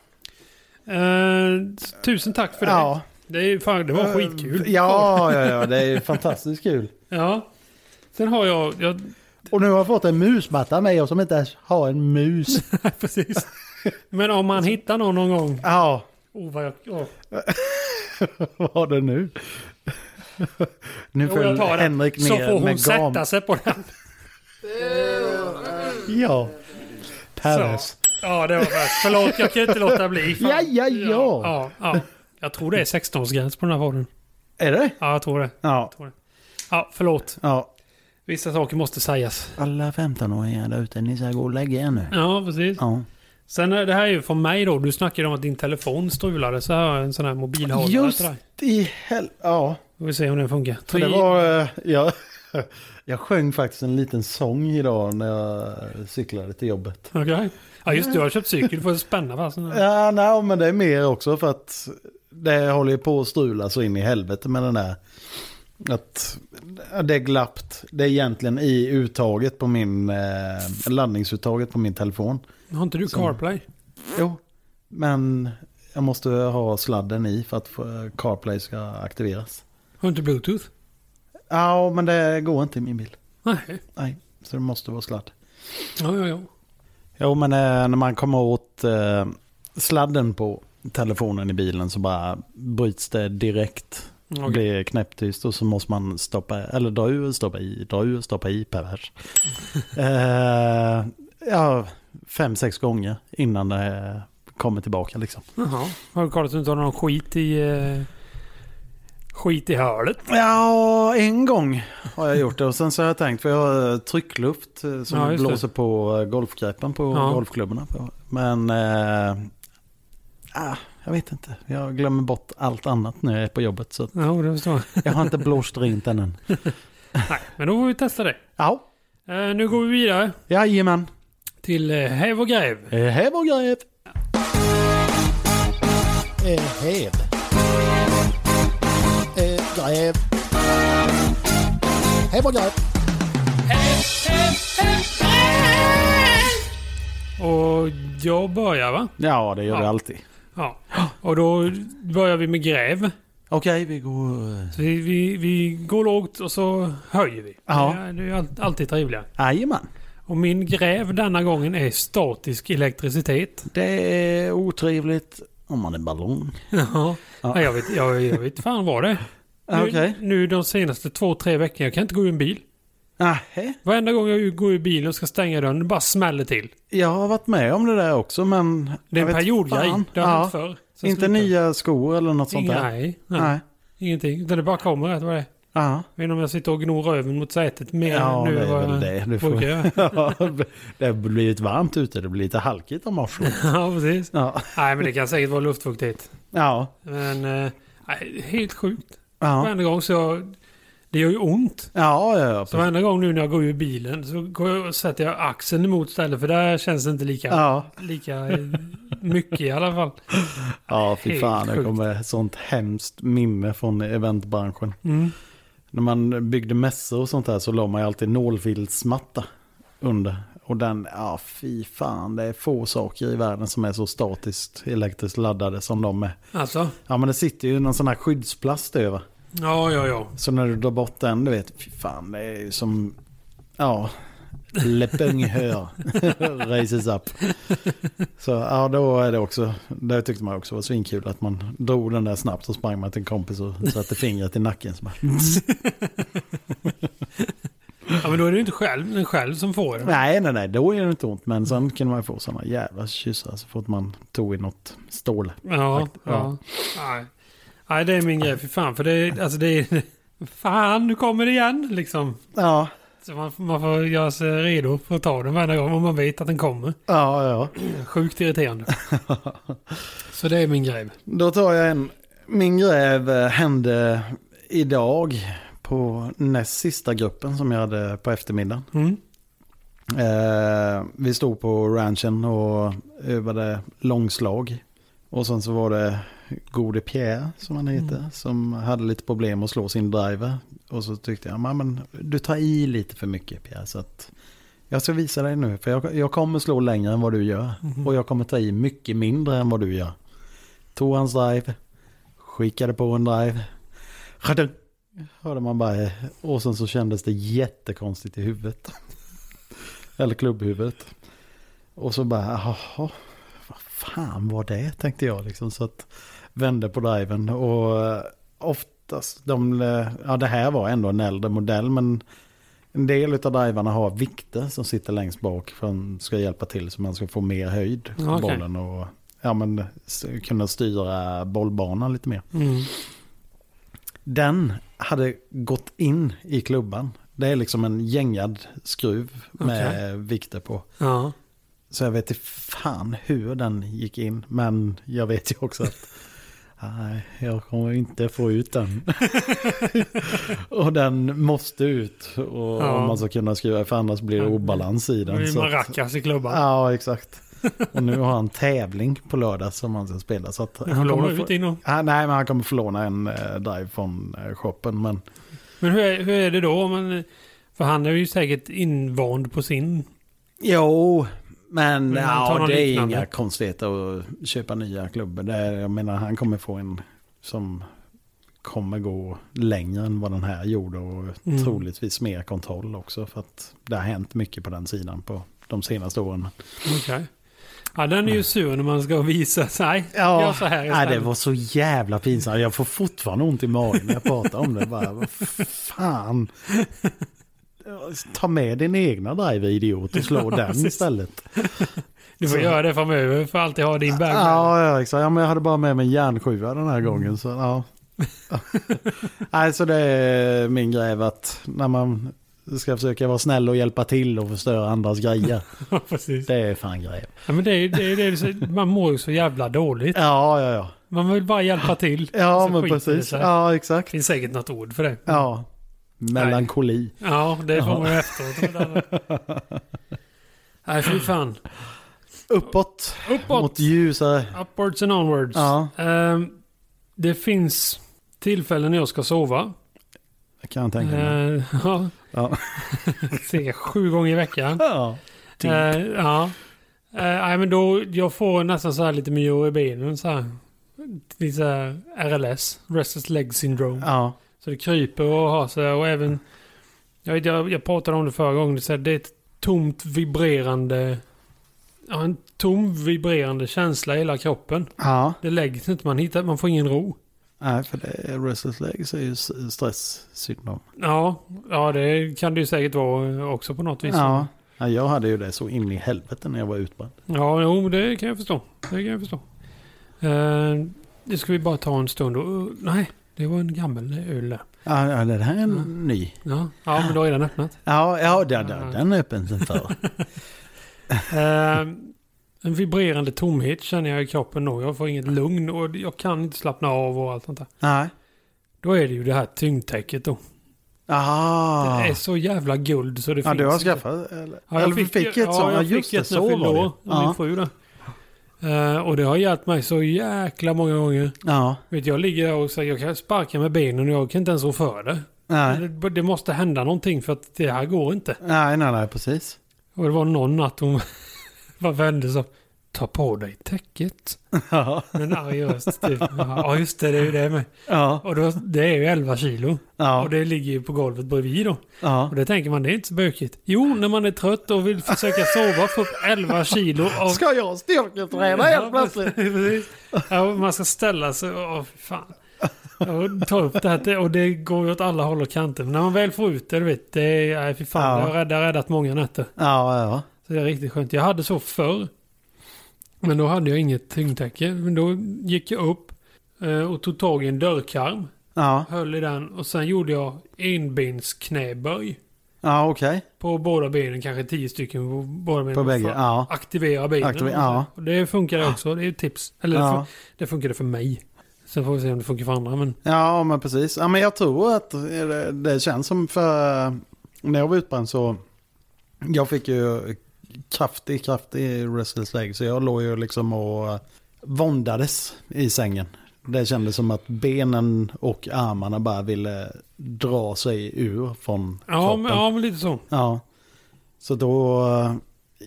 Eh, tusen tack för det.
ja. Eh,
Det, är, ju fan, det var skitkul.
Ja, ja, ja. Det är fantastiskt kul.
Ja. Sen har jag... jag
Och nu har jag fått en musmatta med jag som inte ens har en mus.
precis. Men om man hittar någon någon gång.
Ja,
Oh, vad jag, åh.
vad har det nu? Nu
Jo,
föll
jag tar den.
Henrik
Så får
ner
hon
med gam.
sätta sig på den.
Ja. Peres.
Så. Ja, det var värst. Förlåt, jag kan inte låta bli. Fan.
Ja, ja, ja.
ja, ja. Jag tror det är 16-årsgräns på den här varan.
Är det?
Ja, jag tror det.
Ja.
Ja, förlåt.
ja.
Vissa saker måste sägas.
Alla 15-åringar där ute, ni ska gå och lägga er nu.
Ja, precis.
Ja.
Sen är det här är ju från mig då. Du snackade om att din telefon strulade. Så här har jag en sån här mobilhållare
Just
till dig.
i hel... Ja.
Vi får se om den funkar.
För det var... eh, Jag, jag sjöng faktiskt en liten sång idag när jag cyklade till jobbet.
Okej. Ja, just det. Jag har köpt cykel. Du får spänna fast den. här.
Ja, nej, men det är mer också för att det håller ju på att strula så in i helvete med den där. Att det är glappt. Det är egentligen i uttaget på min, eh, landningsuttaget på min telefon.
Har inte du
Som-
CarPlay?
Jo, men jag måste ha sladden i för att få- CarPlay ska aktiveras.
Har inte Bluetooth?
Ja, men det går inte i min bil.
Nej.
Nej, så det måste vara sladd.
Ja, ja, ja.
Jo, men eh, när man kommer åt eh, sladden på telefonen i bilen så bara bryts det direkt.
Okej.
blir knäpptyst och så måste man stoppa, eller dra ur, stoppa i, dra ur, stoppa i pervers. eh, ja, fem, sex gånger innan det kommer tillbaka liksom.
Jaha. Har du kollat så du inte har någon skit i... Eh, skit i hörlet?
Ja, en gång har jag gjort det och sen så har jag tänkt, för jag har eh, tryckluft eh, som
Ja, just det.
blåser på eh, golfgrepen på
Ja.
golfklubborna. på. Men, eh, ah, jag vet inte, jag glömmer bort allt annat när jag är på jobbet så att
Ja, det förstår jag.
jag har inte blåst rent den än.
Nej, men då får vi testa det.
Ja,
Eh, nu går vi vidare
jajamän.
till eh, Häv och Gräv.
Eh, Här var grejen.
Häv. Gräv. Häv och gräv.
Och jag börjar va?
Ja, det gör
Ja.
vi alltid.
Ja. Och då börjar vi med gräv.
Okej, vi går... eh,
Så vi, vi, vi går lågt och så höjer vi.
Ja.
Det är, det är ju all, alltid trevligare.
Jajamän.
Och min gräv denna gången är statisk elektricitet.
Det är otrevligt om man är ballong.
Ja. Nej, jag vet, jag, jag vet fan vad det är. Nu,
Okej.
nu de senaste två, tre veckorna, jag kan inte gå ur en bil.
Nähä.
Varenda gång jag går ur bilen och ska stänga dörren, det bara smäller till.
Jag har varit med om det där också, men...
Det är
jag
en
vet
periodgrej.
fan.
Det har hänt
Ja.
förr. Sen
Inte
slutar.
nya skor eller något sånt
Inga-
där?
Nej, nej,
Nej.
ingenting. Utan det bara kommer rätt vad det är.
Ja.
Jag vet inte om jag sitter och gnor röven mot sätet mer
Ja,
nu
det
än
är
vad
väl
jag
det. Du får...
brukar göra.
Ja, det har blivit varmt ute, det blir lite halkigt om arslet.
Ja, precis.
Ja.
Nej, men det kan säkert vara luftfuktighet.
Ja.
Men eh, nej, helt sjukt.
Ja.
Varenda gång så... Jag, det gör ju ont.
Ja, ja, ja.
Så
precis.
varenda gång nu när jag går ur bilen så går jag och sätter jag axeln emot stället för där känns det inte lika,
Ja,
lika eh, mycket i alla fall.
ja fy
Helt
fan. Det
sjukt.
kommer ett sånt hemskt minne från eventbranschen.
Mm.
När man byggde mässor och sånt där så la man ju alltid nålfilsmatta under. Och den, ja fy fan, det är få saker i världen som är så statiskt elektriskt laddade som de är.
Alltså,
Ja men det sitter ju någon sån här skyddsplast över.
ja, ja, ja.
Så när du drar bort den, du vet, fy fan, det är ju som, ja, Lepungher raises up. Så ja, då är det också, det tyckte man också var svinkul att man drog den där snabbt och sprang man till en kompis och satte fingret i nacken. Så bara,
Ja, men då är det ju inte själv, den själv som får den.
nej, nej, nej, då gör det inte ont. Men sen kunde man få sådana jävla kyssar så fort man tog i något stål.
Ja,
Fakt-
ja. Nej. Nej, det är min grej. Fy fan, för det är... Alltså det är fan, nu kommer det igen liksom.
Ja,
Så man, man får göra sig redo för att ta den varje gång om man vet att den kommer.
ja, ja.
Sjukt irriterande. Så det är min grej.
Då tar jag en. Min gräv eh, hände idag på näst sista gruppen som jag hade på eftermiddagen.
Mm.
Eh, vi stod på ranchen och övade långslag. Och sen så var det Gode Pierre som han heter. Som hade lite problem att slå sin driver. Och så tyckte jag, "Men, men du tar i lite för mycket Pierre. Så att jag ska visa dig nu. För jag, jag kommer slå längre än vad du gör. Och jag kommer ta i mycket mindre än vad du gör. Tog hans drive. Skickade på en drive. Skadung! Hörde man bara. eh, Och sen så kändes det jättekonstigt i huvudet. Eller klubbhuvudet. Och så bara, jaha, vad fan var det tänkte jag liksom. Så att vände på driven och eh, oftast, de, eh, ja det här var ändå en äldre modell men en del av drivarna har vikter som sitter längst bak för att ska hjälpa till så man ska få mer höjd på
Ja, okej.
bollen och ja, men, s- kunna styra bollbanan lite mer.
Mm.
Den hade gått in i klubban. Det är liksom en gängad skruv med vikter på.
Ja.
Så jag vet inte fan hur den gick in. Men jag vet ju också att nej, jag kommer inte få ut den. och den måste ut. Och
Ja.
Om man ska kunna skruva, för annars blir det obalans i
Då
den.
blir
så
man
att-
rackas i klubban.
Ja, exakt. Och nu har han tävling på lördag som han ska spela. Så att
Han
kommer
lånar
få-
ut in och...
Ja, nej, men han kommer få låna en eh, drive från eh, shoppen. Men
Men hur är, hur är det då? om Man, för han är ju säkert invand på sin.
Jo, men,
Men han tar
ja,
någon
det är
liknande.
inga konstigheter att köpa nya klubbor. Det är, jag menar, han kommer få en som kommer gå längre än vad den här gjorde och
Mm.
troligtvis mer kontroll också. För att det har hänt mycket på den sidan på de senaste åren.
Okej. Ja, den är ju sur när man ska visa sig. Gör så här
nej,
istället.
det var så jävla pinsamt. Jag får fortfarande ont i magen när jag pratar om det. Bara, vad fan. Ta med din egna driver idiot och slå den
precis.
istället.
Du får
så.
göra det framöver. för alltid ha din bag.
Ja, ja, exakt. Ja, men jag hade bara med mig järnsjua den här gången. Så, ja. Nej, så det är min grej att när man ska försöka vara snäll och hjälpa till och förstöra andras grejer.
Ja, precis.
Det är fan grej.
Ja, men det är, det är, det är, så- man mår ju så jävla dåligt.
Ja, ja, ja.
Man vill bara hjälpa till.
Ja,
Så
men
skiter det
precis.
sig.
Ja, exakt.
Det finns säkert något ord för det.
Ja. Melankoli.
Ja, det får man ju efteråt. men den- Nej, fy fan.
Uppåt.
Uppåt.
Mot ljusare.
Upwards and onwards.
Ja.
Ehm, det finns tillfällen när jag ska sova.
Kan jag tänka mig.
Ehm, ja,
Ja.
cirka sju gånger i veckan.
Ja. Typ.
Eh, ja. Eh, nej, men då, jag får nästan så här lite myo i benen. Så här. Lite så här RLS, Restless Leg Syndrome.
Ja.
Så det kryper och har sig och även... Jag, vet, jag, jag pratade om det förra gången. Så här, det är ett tomt vibrerande... Ja, en tom vibrerande känsla i hela kroppen.
Ja.
Det lägger sig inte. Man, hittar, man får ingen ro.
Nej, för det är restless legs är ju s- stresssyndrom.
Ja, ja, det kan det ju säkert vara också på något vis.
Ja. ja. Jag hade ju det så in i helvete när jag var utbränd.
Ja, jo, det kan jag förstå. Det kan jag förstå. Eh, det ska vi bara ta en stund och... Uh, nej, det var en gammal öl där.
Ja, ja, det här är en
Mm.
ny.
Ja, ja, men då är den öppnat.
Ja, ja den,
Ja.
den, den är öppen sen förr.
Eh, en vibrerande tomhet känner jag i kroppen då. Jag får inget lugn och jag kan inte slappna av och allt sånt där.
Nej.
Då är det ju det här tyngdtäcket då.
Aha.
Det är så jävla guld så det
Ah. Ja,
finns.
du har
inte.
skaffat eller?
Ja, jag
eller
fick,
fick, ett sånt.
ja,
Ja,
jag
just
fick
det,
ett när jag
så
fyllde
var
år. Mm.
det. Ah.
av Min
Ja.
fru då. Eh, och det har hjälpt mig så jäkla många gånger.
ja.
Vet, du, jag ligger där och säger jag kan sparka med benen och jag kan inte ens rå för det.
Nej.
det. Det måste hända någonting för att det här går inte.
Nej, nej, nej, precis.
Och det var någon natt hon... Varför hände så? Ta på dig täcket.
Ja.
Med en arg röst. Typ. Ja, just det. Det är ju det med.
Ja.
Och då, det är ju 11 kilo.
Ja.
Och det ligger ju på golvet bredvid då.
Ja.
Och det tänker man, det är inte så bökigt. Jo, när man är trött och vill försöka sova, få upp 11 kilo av...
Ska jag styrketräna helt plötsligt?
precis. ja, man ska ställa sig och... åh, fy fan. Och ta upp det här och det går ju åt alla håll och kanter. Men när man väl får ut det, du vet. Det är, nej, fy fan.
Ja.
Det har räddat, räddat många nätter.
Ja, ja.
Så det är riktigt skönt. Jag hade så förr. Men då hade jag inget tyngdtäcke. Men då gick jag upp eh, och tog tag i en dörrkarm.
Ja,
Höll i den och sen gjorde jag enbensknäböj.
ja okej.
På båda benen, kanske tio stycken på båda benen.
På bägge.
För att
Ja.
Aktivera benen.
Aktive- ja.
Och det funkar också, det är ett tips. Eller det,
Ja.
fun- det funkade för mig. Sen får vi se om det funkar för andra. Men
ja, men precis. Ja, men jag tror att det, det känns som för... När jag var utbränd så... Jag fick ju kraftig, kraftig restless leg. Så jag låg ju liksom och våndades i sängen. Det kändes som att benen och armarna bara ville dra sig ur från
ja,
kroppen.
men, ja, men lite så.
Ja. Så då...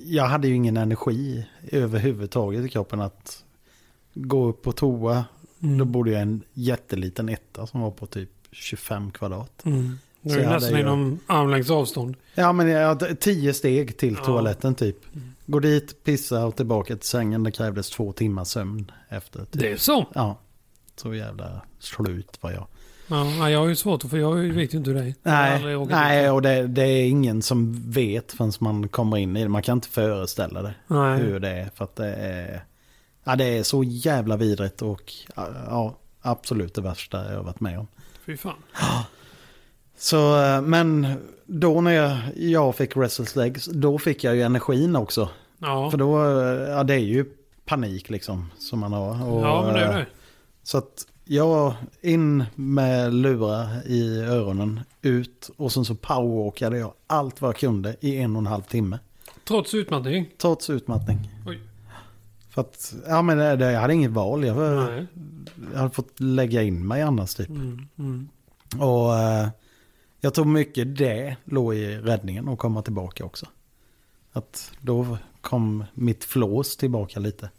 Jag hade ju ingen energi överhuvudtaget i kroppen att gå upp på toa. Då
Mm.
bodde jag i en jätteliten etta som var på typ 25 kvadrat.
Mm. Det
Så
är
jag
nästan
hade ju-
inom armlängds avstånd.
Ja men jag hade tio steg till
Ja.
toaletten typ. Gå dit, pissa och tillbaka till sängen. Det krävdes två timmars sömn efter. Typ.
Det är så.
Ja. Så jävla slut var jag.
Ja, nej, jag har ju svårt att för jag vet ju inte hur det är. Jag har
Nej,
aldrig åkt
nej
ut.
och det, det är ingen som vet förrän man kommer in i det. Man kan inte föreställa det.
nej.
hur det är. För att det är, ja, det är så jävla vidrigt och ja, absolut det värsta jag har varit med om.
Fy fan.
Så, eh, men då när jag, jag fick restless legs, då fick jag ju energin också.
Ja.
För då, eh, ja det är ju panik liksom som man har. Och,
ja, men det är
eh,
det.
Så att jag in med lurar i öronen, ut och sen så powerwalkade jag allt vad jag kunde i en och en halv timme.
Trots utmattning.
Trots utmattning.
Oj.
För att, ja men det, det, jag hade inget val. Jag, var-
Nej.
jag hade fått lägga in mig annars typ.
Mm, mm.
Och eh, jag tror mycket det låg i räddningen och komma tillbaka också. Att då kom mitt flås tillbaka lite.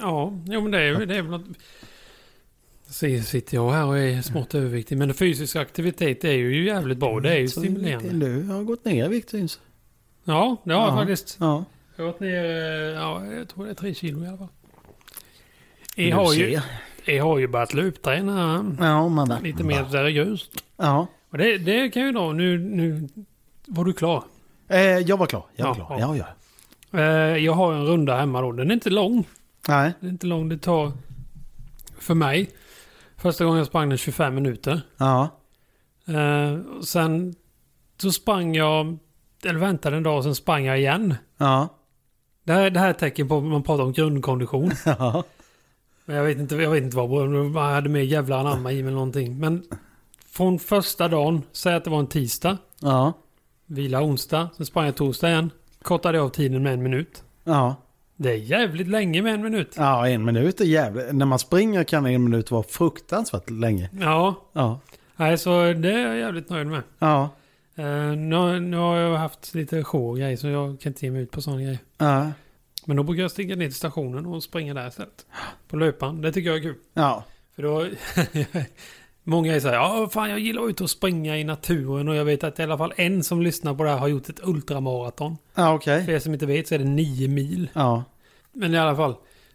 Ja, jo, men det är, det är väl något... Så sitter jag här och är smått överviktig. Men fysisk aktivitet är ju jävligt bra. Det är ju
Så
stimulerande.
Du har gått ner i vikt syns.
Ja, det har jag
Mm. Ja.
faktiskt.
Ja.
Jag har gått ner, eh, ja, jag tror det är tre kilo i alla fall.
Du
Jag har ju,
ser. Mm.
jag har ju börjat lupträna
Ja, man där.
lite mer seriöst.
Ja.
Och det, det kan ju då, nu, nu var du klar.
Eh, jag var klar. Jag var
Ja,
klar. Ja, ja.
Eh, Jag har en runda hemma då. Den är inte lång.
Nej.
Det är inte långt det tar för mig. Första gången jag sprang den 25 minuter.
Ja.
Eh, och sen så sprang jag, eller väntade en dag och sen sprang jag igen.
Ja.
Det här, det här är ett tecken på att man pratar om grundkondition.
Ja.
Men jag vet inte, jag vet inte vad, man hade mer jävlar anamma i mig eller någonting. Men från första dagen, säg att det var en tisdag,
Ja.
vila onsdag, sen sprang jag torsdag igen. Kortade jag av tiden med en minut.
Ja.
Det är jävligt länge med en minut.
Ja, en minut är jävligt. När man springer kan en minut vara fruktansvärt länge.
Ja,
Ja.
nej, så det är jag jävligt nöjd med.
Ja.
Eh, nu, har- nu har jag haft lite show och grejer så jag kan inte ge mig ut på sådana grejer.
Ja.
Men då brukar jag stiga ner till stationen och springa där istället. På löpan. Det tycker jag är kul.
Ja.
För då... Många är så här, ja fan jag gillar ut och springa i naturen och jag vet att i alla fall en som lyssnar på det här har gjort ett ultramaraton.
Ja, okej.
För er som inte vet så är det nio mil.
Ja.
Men i alla fall,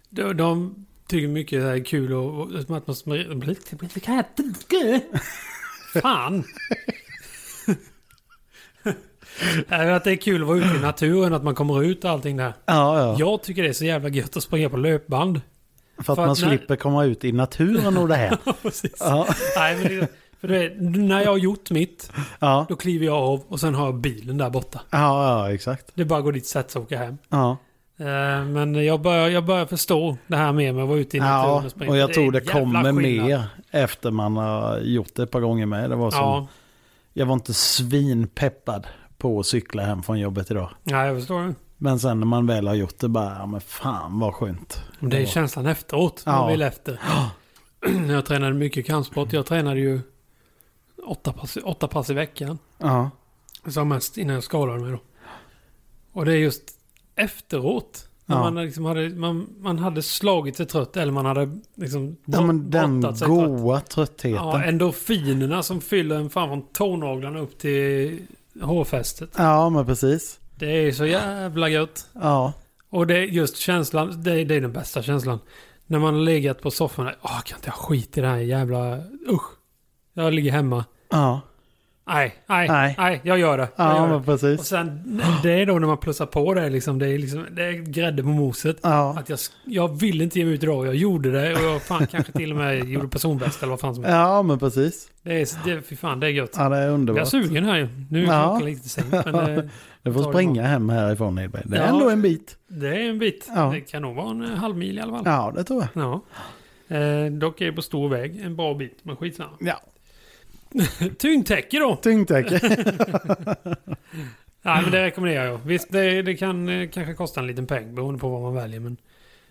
de, de tycker mycket det här är kul och, och som att man... smir- Kan jag inte- Fan! Nej, men att det är kul att vara ute i naturen, att man kommer ut och allting där.
Ja, ja.
Jag tycker det är så jävla gött att springa på löpband.
för att
för
man
att när-
slipper komma ut i naturen och det här.
Precis.
ja.
Nej, men det, för det, är- när jag har gjort mitt,
Ja.
då kliver jag av och sen har jag bilen där borta.
ja, ja, exakt.
Det är bara att gå dit, sätta och åka hem.
Ja.
Eh, Men jag börjar, jag börjar förstå det här med mig, att vara ute i naturen
ja,
springa.
och jag
är
tror
en
det
jävla
kommer
skillnad.
mer efter man har gjort det ett par gånger med. Det var som,
Ja,
Jag var inte svinpeppad på att cykla hem från jobbet idag.
ja, jag förstår det.
Men sen när man väl har gjort det bara, ja men fan vad skönt.
Men det är känslan efteråt, man
Ja.
vill efter. Jag tränade mycket kampsport. Jag tränade ju åtta pass, åtta pass i veckan.
Ja,
Som mest innan jag skadade mig då. Och det är just efteråt När
Ja.
Man, liksom hade, man, man hade slagit sig trött eller man hade liksom
Ja, men den
brottat sig trött.
goa tröttheten.
Ja,
Ja,
endorfinerna som fyller en fan från tånaglarna upp till hårfästet.
men precis.
Det är så jävla gött.
Ja.
Och det är just känslan, det är, det är den bästa känslan. När man har legat på soffan, där, åh, kan inte jag skita i det här jävla, usch. Jag ligger hemma.
Ja,
Nej, nej, nej,
Nej.
jag gör det. Jag
ja
gör det.
men precis.
Och sen det är då när man plussar på det liksom. Det är, liksom, det är grädde på moset.
Ja.
Att jag, jag vill inte ge mig ut idag. Jag gjorde det och jag fan kanske till och med gjorde personbäst eller vad fan som helst.
ja, men precis.
Det är, det, fy fan, det är gött.
Ja, det är
Jag är
underbart.
sugen här ju. Nu är
Ja.
klockan lite sent men eh, det,
Du får
tar
springa hem härifrån Edberg. Det är
Ja.
ändå en bit.
det är en bit.
Ja.
Det kan nog vara en halv mil i alla fall.
Ja, det tror jag.
Ja. Eh, dock är det på stor väg en bra bit, men skitsamma.
Ja,
Tyngdtäcke då!
tyngdtäcke.
Nej, men det rekommenderar jag. Visst, det, det kan eh, kanske kosta en liten peng beroende på vad man väljer. Men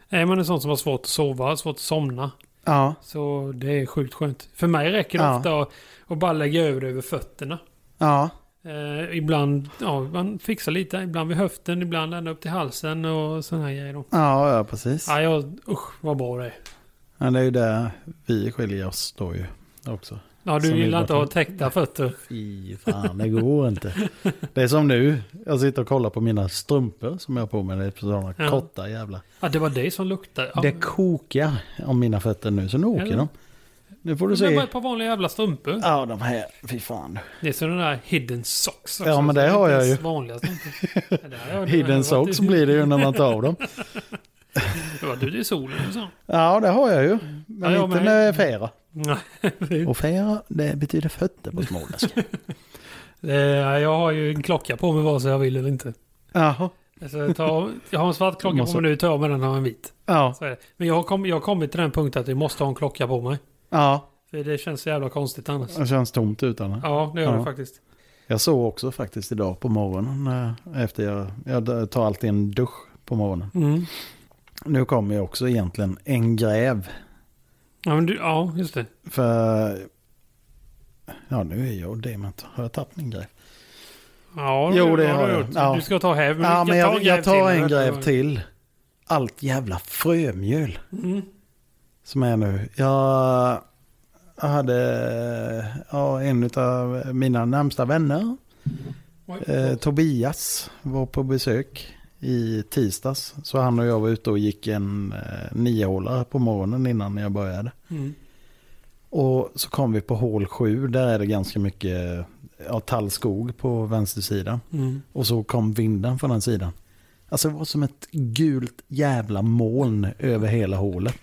är man en sån som har svårt att sova, svårt att somna,
Ja,
så det är sjukt skönt. För mig räcker det
Ja.
ofta att, att bara lägga över det över fötterna.
ja,
Eh, ibland, ja, man fixar lite. Ibland vid höften, ibland ända upp till halsen och sådana här grejer. Då.
ja, ja precis.
Ja, jag, usch vad bra det är.
Ja, det är ju där vi skiljer oss då ju också.
Ja, du
Som
gillar
är
inte att ha täckta fötter.
Fy fan, det går inte. Det är som nu, jag sitter och kollar på mina strumpor som jag har på mig. Det är sådana
Ja.
korta jävla.
Ja, det var det som luktade. Ja,
Det kokar om mina fötter nu, så nu åker
Eller?
de. Nu får du
det var
se.
ett par vanliga jävla strumpor.
Ja, de här, fy fan.
Det är sådana där hidden socks.
Ja, men det
är
har
inte
jag
ens
ju.
Vanliga strumpor. Ja, det har jag-
Hidden socks blir det ju när man tar av dem.
Det var du i solen och så.
Ja, det har jag ju. Men
Ja, jag
inte
med.
med fära.
Nej,
Och fära, det betyder fötter på småländska.
eh, jag har ju en klocka på mig vare sig jag vill eller inte.
Jaha.
Alltså, jag, tar, jag har en svart klocka på
Måste-
mig nu, tar jag med den har jag en vit.
Ja,
Så är det. Men jag har, kom, jag har kommit till den punkten att jag måste ha en klocka på mig.
ja.
För det känns så jävla konstigt annars.
Det känns tomt utan den.
Ja, det gör det
Ja.
faktiskt.
Jag såg också faktiskt idag på morgonen eh, efter jag, jag tar alltid en dusch på morgonen.
Mm.
Nu kommer ju också egentligen en gräv.
Ja, men du, ja, just det.
För, ja nu är jag dement. Har jag tappat min gräv?
Ja,
Jo, det
har
har
du
jag.
gjort.
Ja.
Du ska ta häv.
Ja
vi
men
kan ta
jag, jag tar en
till.
gräv till. Allt jävla frömjöl
Mm.
som är nu. Jag jag hade ja, en av mina närmsta vänner Eh, Tobias var på besök i tisdags. Så han och jag var ute och gick en eh, niohålare på morgonen innan jag började.
Mm.
Och så kom vi på hål sju. Där är det ganska mycket ja, tallskog på vänstersidan.
Mm.
Och så kom vinden från den sidan. Alltså det var som ett gult jävla moln över hela hålet.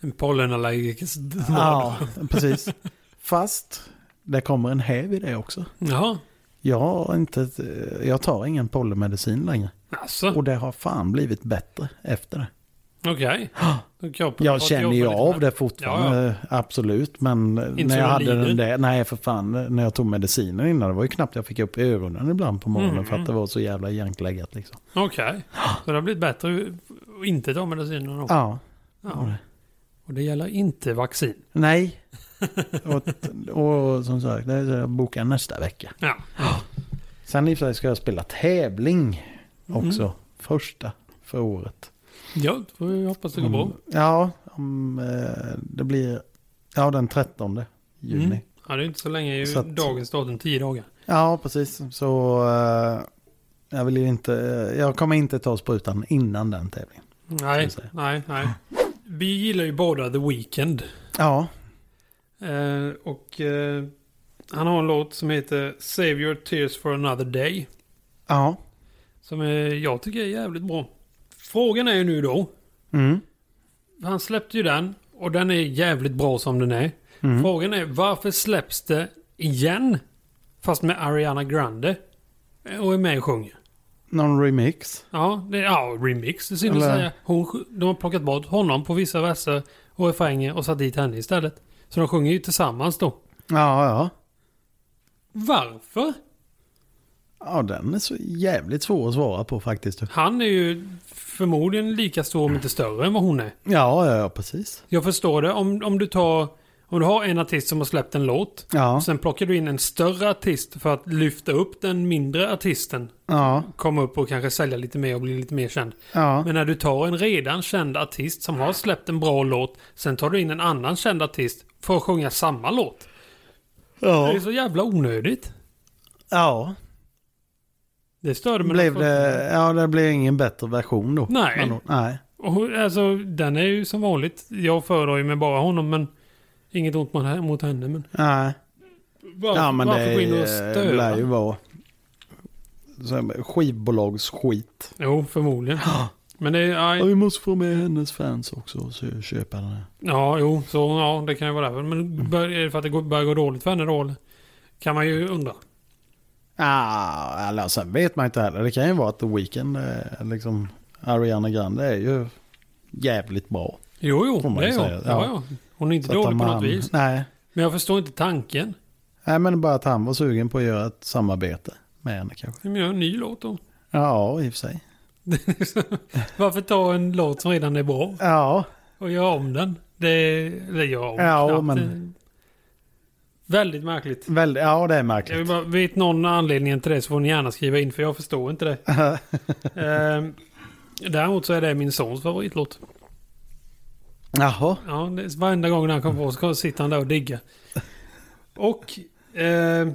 En pollenallergikers
Ja, precis. Fast det kommer en häv i det också.
Jaha.
Jag, har inte, jag tar ingen pollenmedicin längre.
Alltså,
Och det har fan blivit bättre efter det.
okej. Då kroppen har
Jag
fått
känner ju
jobba lite
av
med
det fortfarande, absolut. Men när jag hade
lider.
den där, nej för fan, när jag tog medicinen innan, det var ju knappt jag fick upp ögonen ibland på morgonen
Mm,
för
mm.
att det var så jävla jänkläggat liksom.
Okej. Så det har blivit bättre u- inte ta medicinen då?
Ja.
Ja. Och det gäller inte vaccin?
Nej. och, och som sagt, det är så jag bokar nästa vecka.
Ja.
Sen i och för sig ska jag spela tävling också,
Mm.
första för året.
Ja, då får vi hoppas det går bra.
Om- Ja, om, eh, det blir, ja den 13 juni.
Mm. Ja, det är inte så länge. Ju
Så att-
Dagens datum, tio dagar.
Ja, precis. Så eh, jag vill ju inte, eh, jag kommer inte ta sprutan innan den tävlingen.
Nej,
Ska vi säga.
nej, nej. Vi gillar ju båda The Weeknd.
Ja,
Eh, och eh, han har en låt som heter Save Your Tears For Another Day.
ja,
Som eh, jag tycker är jävligt bra. Frågan är ju nu då.
mm,
Han släppte ju den och den är jävligt bra som den är.
mm.
Frågan är varför släpps det igen? Fast med Ariana Grande. Och är med och sjunger.
någon remix.
Ja, det, ja remix. Det syns att
Eller-
säga. Hon, sj- de har plockat bort honom på vissa verser och refränger och satt dit henne istället. Så de sjunger ju tillsammans då.
Ja, ja.
Varför?
Ja, den är så jävligt svår att svara på faktiskt.
Han är ju förmodligen lika stor om inte större än vad hon är.
Ja, ja, ja, precis.
Jag förstår det om, om du tar... Om du har en artist som har släppt en låt.
Ja,
Sen plockar du in en större artist för att lyfta upp den mindre artisten.
ja,
Komma upp och kanske sälja lite mer och bli lite mer känd.
ja.
Men när du tar en redan känd artist som har släppt en bra låt. Sen tar du in en annan känd artist för att sjunga samma låt. Det är
Ja.
så jävla onödigt.
ja.
Det störde mig.
Blev
när jag
det, ja, det blev ingen bättre version då.
Nej.
Men då- Nej.
Och, hon- alltså, den är ju som vanligt. Jag föredrar ju med bara honom, men inget ont mot, mot henne. Men
Nej.
varför,
Ja, men
varför gå in och
det eh,
störa?
lär ju vara så här, skivbolagsskit.
Jo, förmodligen. Men det är...
Ja,
Ja,
vi måste få med hennes fans också så jag köper den här.
ja, jo, så ja, det kan ju vara därför.
Mm.
Men bör, är det för att det går- börjar gå dåligt för henne då? eller? Kan man ju undra.
Ah, eller sen vet man inte heller. Det kan ju vara att The Weeknd, eh, liksom Ariana Grande är ju jävligt bra.
Jo, jo,
Får man
det är
ju
hon.
säga, ja.
Ja. Ja, Hon är inte
att
dålig på
om
något
han-
vis.
Nej.
Men jag förstår inte tanken.
nej, men bara att han var sugen på att göra ett samarbete med henne kanske.
Men gör en ny låt då.
Ja, i och för sig.
Varför ta en låt som redan är bra
Ja,
och göra om den? Det eller göra om
Ja,
knappt.
men-
Väldigt märkligt.
väldigt, ja det är
Jag vill
märkligt.
bara, vet någon anledningen till det så får ni gärna skriva in för jag förstår inte det. Ehm, däremot så är det min sons favoritlåt.
Jaha,
Ja, det är varenda gång när han kommer på så sitter han där och diggar. Och ehm,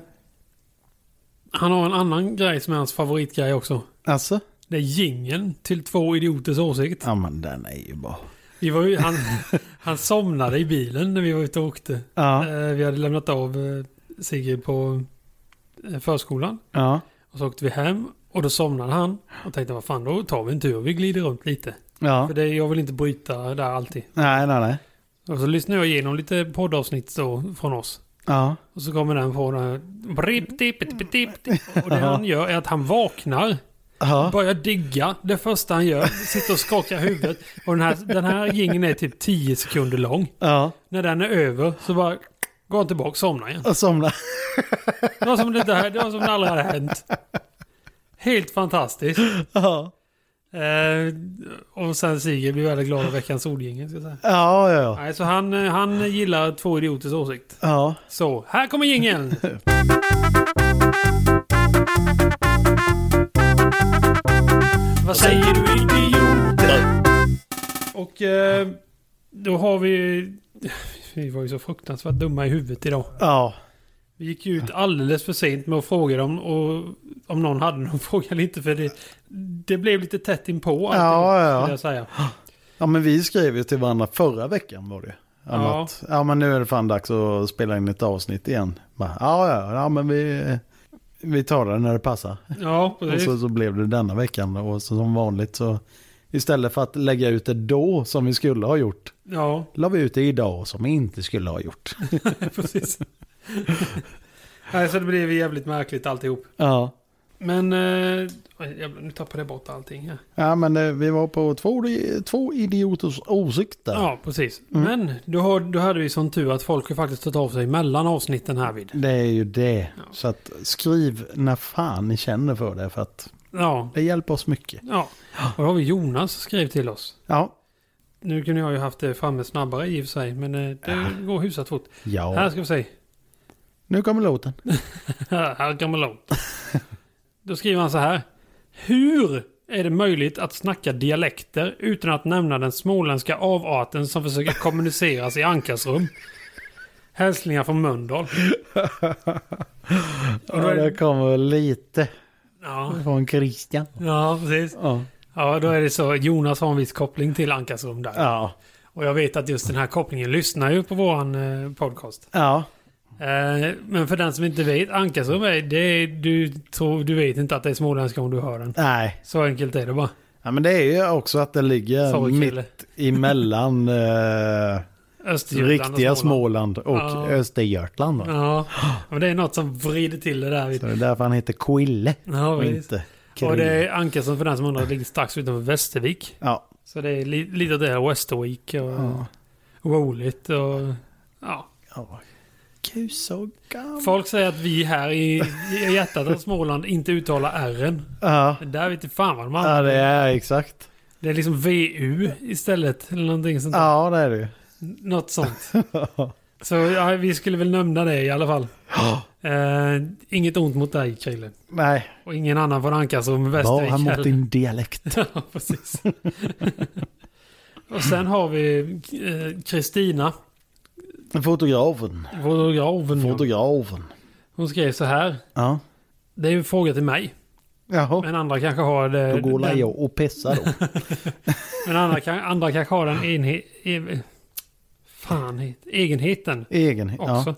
han har en annan grej som är hans favoritgrej också.
alltså?
Det är jingeln till två idioters åsikt.
Ja, men den är ju bra.
Vi var ju, han, han somnade i bilen när vi var ute och åkte.
Ja,
Eh, vi hade lämnat av eh, Sigge på eh, förskolan.
ja,
Och så åkte vi hem och då somnade han. Och tänkte vad fan då tar vi en tur och vi glider runt lite.
ja.
För det, jag vill inte bryta där alltid.
Nej, nej, nej.
Och så lyssnade jag igenom lite poddavsnitt då från oss.
Ja,
Och så kommer den på den här... brip, dip, dip, dip, dip. Och det han gör är att han vaknar.
ja.
Börjar digga. Det första han gör. Sitter och skakar huvudet. Och den här, den här gingen är typ 10 sekunder lång.
ja.
När den är över så bara går han tillbaka och somnar igen.
Och somna.
Det var som det, där, det, var som det aldrig hade hänt. Helt fantastiskt.
Ja,
Eh, och sen Sigge blir väldigt glad av veckans ordjingel. ska jag säga.
ja, ja. ja.
Nej, så han, eh, han gillar två idioters åsikt.
ja.
Så, här kommer jingeln! Vad säger du idioter? Och eh, då har vi... Vi var ju så fruktansvärt dumma i huvudet idag.
Ja,
Vi gick ju ut alldeles för sent med att fråga dem och om någon hade någon fråga eller inte. För det, det blev lite tätt inpå allting,
Ja, ja, ja.
skulle jag säga.
ja men vi skrev ju till varandra förra veckan var det ju. Om
Ja.
Att, ja men nu är det fan dags att spela in ett avsnitt igen. Bara, ja, ja, ja men vi, vi tar det när det passar.
Ja,
Och
precis.
så, så blev det denna veckan och så, som vanligt så istället för att lägga ut det då som vi skulle ha gjort.
Ja,
La vi ut det idag som vi inte skulle ha gjort.
precis. Nej, så det blev jävligt märkligt alltihop.
Ja.
Men... Eh, oj, jävlar, nu tappade jag bort allting här.
Ja men eh, vi var på två, två idioters åsikter.
Ja, precis. Men då, har, då hade vi sån tur att folk har faktiskt tagit av sig mellan avsnitten här vid.
Det är ju det. Så att skriv när fan ni känner för det för att
Ja.
det hjälper oss mycket.
ja. Och då har vi Jonas som skrev till oss.
Ja.
Nu kunde jag ju haft det framme snabbare i och för sig, men eh, det går hyfsat fort. Här
Ja.
ska vi se.
Nu kommer låten.
här kommer långt. Då skriver han så här. Hur är det möjligt att snacka dialekter utan att nämna den småländska avarten som försöker kommuniceras i Ankarsrum? Hälsningar från Mölndal.
Och det kommer lite
Ja,
från Christian.
ja, precis.
Ja.
Ja, då är det så. Jonas har en viss koppling till Ankarsrum där.
Ja.
Och jag vet att just den här kopplingen lyssnar ju på våran eh, podcast.
Ja.
Eh, men för den som inte vet, Ankarsrum är, det är du, tror, du vet inte att det är småländska om du hör den.
Nej.
Så enkelt är det bara.
Ja men det är ju också att det ligger
Sorry,
Eh, mitt
Kille.
emellan eh,
Östergötland och
riktiga
Småland.
Småland och
Ja.
Östergötland. Va?
Ja, men det är något som vrider till det där.
Så
Vid.
det är därför han heter Quille
Ja,
och
visst.
inte Krille.
och det är Ankarsrum för den som undrar, ligger strax utanför Västervik.
Ja.
Så det är li, lite åt det här Westervik och
Ja.
roligt och... Ja.
ja. Kusogam.
Folk säger att vi här i, i hjärtat av Småland inte uttalar R'n.
Ja.
Men där vet inte fan vad man
ja, det är exakt.
Det är liksom VU istället. Eller någonting sånt där.
Ja, det är det ju.
Något sånt. Så ja, vi skulle väl nämna det i alla fall. Eh, inget ont mot dig, Krille.
Nej,
Och ingen annan får anka som
var han
Västervik
mot din dialekt?
Ja, precis. Och sen har vi eh, Kristina,
Fotografen.
fotografen.
Fotografen.
Hon skrev så här.
Ja.
Det är ju en fråga till mig.
Jaha.
Men andra kanske har det.
Då går
den,
jag och pissar då.
men andra, kan, andra kanske har den enhet... E, fan, het- egenheten
Egenhet.
också.
Ja.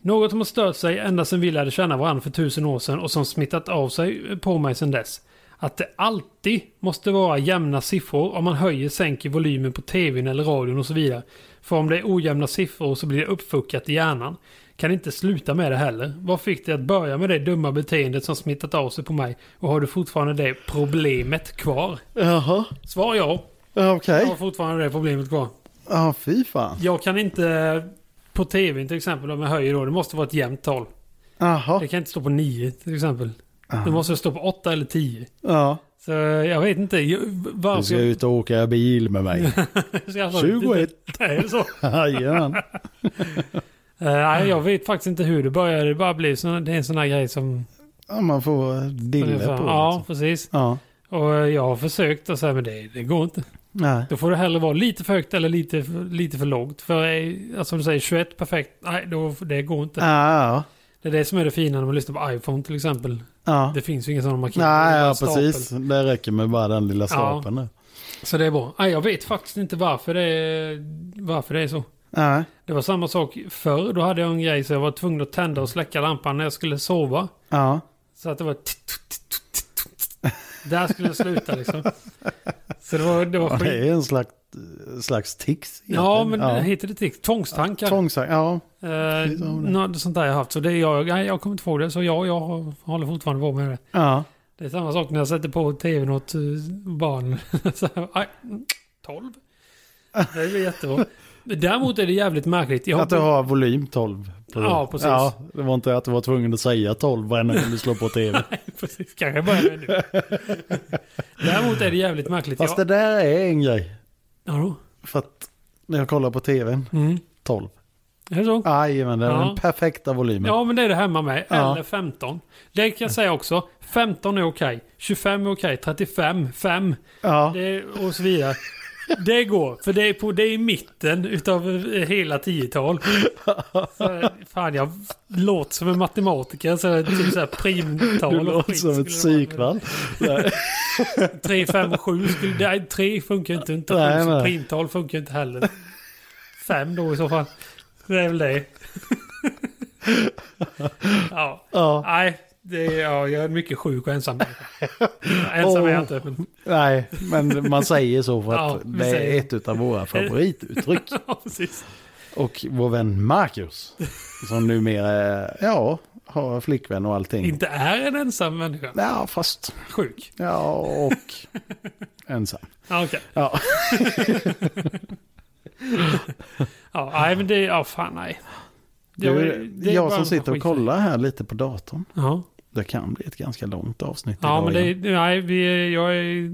Något som har stört sig ända sedan vi lärde känna varandra för tusen år sedan och som smittat av sig på mig sedan dess. Att det alltid måste vara jämna siffror om man höjer sänker volymen på tvn eller radion och så vidare. För om det är ojämna siffror så blir det uppfuckat i hjärnan. Kan inte sluta med det heller. Vad fick dig att börja med det dumma beteendet som smittat av sig på mig? Och har du fortfarande det problemet kvar?
Jaha.
Svar ja.
Ja, Okej.
Jag har fortfarande det problemet kvar.
Ja, fy fan.
Jag kan inte på tvn till exempel om jag höjer då. Det måste vara ett jämnt tal.
Jaha.
Det kan inte stå på 9 till exempel. Det
Ja.
måste stå på 8 eller 10.
Ja.
Så jag vet inte jag-
Du
varför
ska
jag-
ut och åka bil med mig.
jag ska absolut inte-
21.
Nej, det är så.
Jajamän.
Eh, nej, jag vet faktiskt inte hur det började. Det bara blev sån, det är en sån här grej som...
Ja, man får eh, dille på det.
Ja,
liksom.
precis.
ja.
Och eh, jag har försökt och så här, men det, det går inte.
Nej.
Då får det hellre vara lite för högt eller lite, för- lite för lågt. För eh, alltså, som du säger, 21 perfekt. Nej, då, det går inte.
Ja, ja.
Det är det som är det fina när man lyssnar på iPhone till exempel.
ja.
Det finns ju ingen sån markering. Det är
Nej,
bara en
ja,
stapel.
precis. Det räcker med bara den lilla stapeln. där.
Så det är bra. Nej, jag vet faktiskt inte varför det, är, varför det är så.
Nej.
Det var samma sak förr. Då hade jag en grej så jag var tvungen att tända och släcka lampan när jag skulle sova.
Ja.
Så att det var... tit- tut- tut- tut- tut- tut. Där skulle det sluta liksom. Så det var, det var
Ja, det
skit.
är en slags, eh, slags tics.
Ja, men det
egentligen.
heter det tics? Tvångstankar.
Tvångsang, ja.
Eh,
precis, ja, det.
något sånt där jag haft. Så det är jag, nej, jag kommer inte ihåg det. Så jag, jag har- håller fortfarande på med det.
ja.
Det är samma sak när jag sätter på tvn åt eh, barn. Så här, aj, mm, 12. Det blir jättebra. Men Däremot är det jävligt märkligt. Jag
Att du har volym 12. på det.
Ja, precis.
Ja, det var inte att du var tvungen att säga 12 varenda gång du slår på tv.
Precis, kanske jag börjar med nu. Däremot är det jävligt märkligt.
Fast det
jag...
där är en grej.
Ja, då.
För att när jag kollar på tvn,
Mm.
12.
Är det så?
Jajamän, det är
Ja.
den perfekta volymen.
Ja, men det är det hemma med.
Ja.
Eller 15. Det kan jag säga också. 15 är okej. 25 är okej. 35, 5
Ja.
det är, och så vidare. Det går, för det är, på, det är i mitten utav eh, hela tiotal. Så, fan, jag låter som en matematiker. Så, här, typ så här primtal.
Du
och
låter
skit
som ett
skulle det vara.
psykfall.
3, 5 och 7 skulle... Nej, 3 funkar ju inte. inte
Nej,
sju som
nej.
primtal funkar ju inte heller. 5 då i så fall. Det är väl det. ja.
Ja.
Nej, det är, ja, jag är mycket sjuk och ensam. ensam är jag inte. Men,
Nej, men man säger så för
Ja,
att
vi
det
säger.
är ett av våra favorituttryck.
ja, precis.
Och vår vän Marcus, som numera är- ja, har flickvän och allting.
Inte är en ensam människa.
Ja, fast
Sjuk.
ja, och ensam.
Ja, okej.
Ja.
Ja, nej, men det... Ja, fan nej. Det var-
Du,
det är bara
jag
en
som
massa
sitter och
skit.
kollar här lite på datorn.
Ja.
Det kan bli ett ganska långt avsnitt.
Ja,
idag
men det,
igen.
är- nej, vi, är- jag är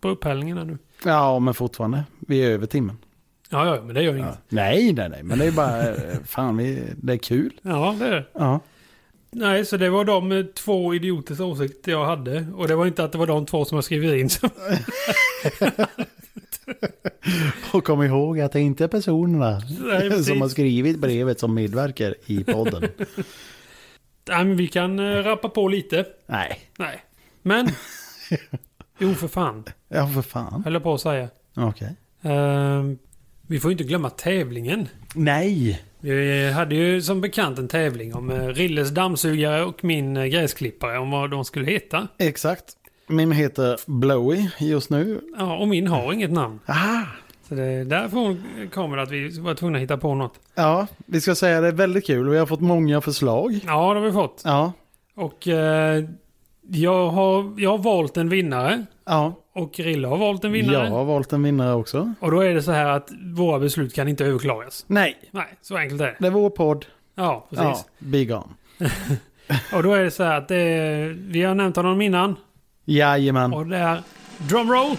på upphällningen här nu.
ja, men fortfarande. Vi är över timmen.
Ja, ja, men det gör
Ja.
inget.
Nej, nej, nej, men det är bara, eh, fan, vi, det är kul.
Ja, det är det.
Ja.
Nej, så det var de eh, två idioters åsikter jag hade. Och det var inte att det var de två som jag skrivit in. som-
Och kom ihåg att det inte är personerna
Nej, precis.
som har skrivit brevet som medverkar i podden.
Nej, men vi kan eh, rappa på lite.
nej,
Nej. Men... Jo, för fan.
ja för fan.
Höll jag på att säga.
Okej.
Ehm, vi får ju inte glömma tävlingen.
Nej,
Vi hade ju som bekant en tävling om eh, Rilles dammsugare och min eh, gräsklippare. Om vad de skulle heta.
exakt. Min heter Blowy just nu.
Ja, och min har inget namn.
Ah,
Så det är därifrån kommer det att vi var tvungna att hitta på något.
ja, vi ska säga det är väldigt kul. Vi har fått många förslag.
Ja, det har vi fått.
Ja,
Och eh, jag, har, jag har valt en vinnare.
ja.
Och Rille har valt en vinnare.
Jag har valt en vinnare också.
Och då är det så här att våra beslut kan inte överklagas.
Nej,
Nej, så enkelt är det.
det är vår podd.
Ja,
Ja,
precis.
be gone.
Och då är det så här att det är, vi har nämnt honom innan.
Jajamän.
Och det är drumroll.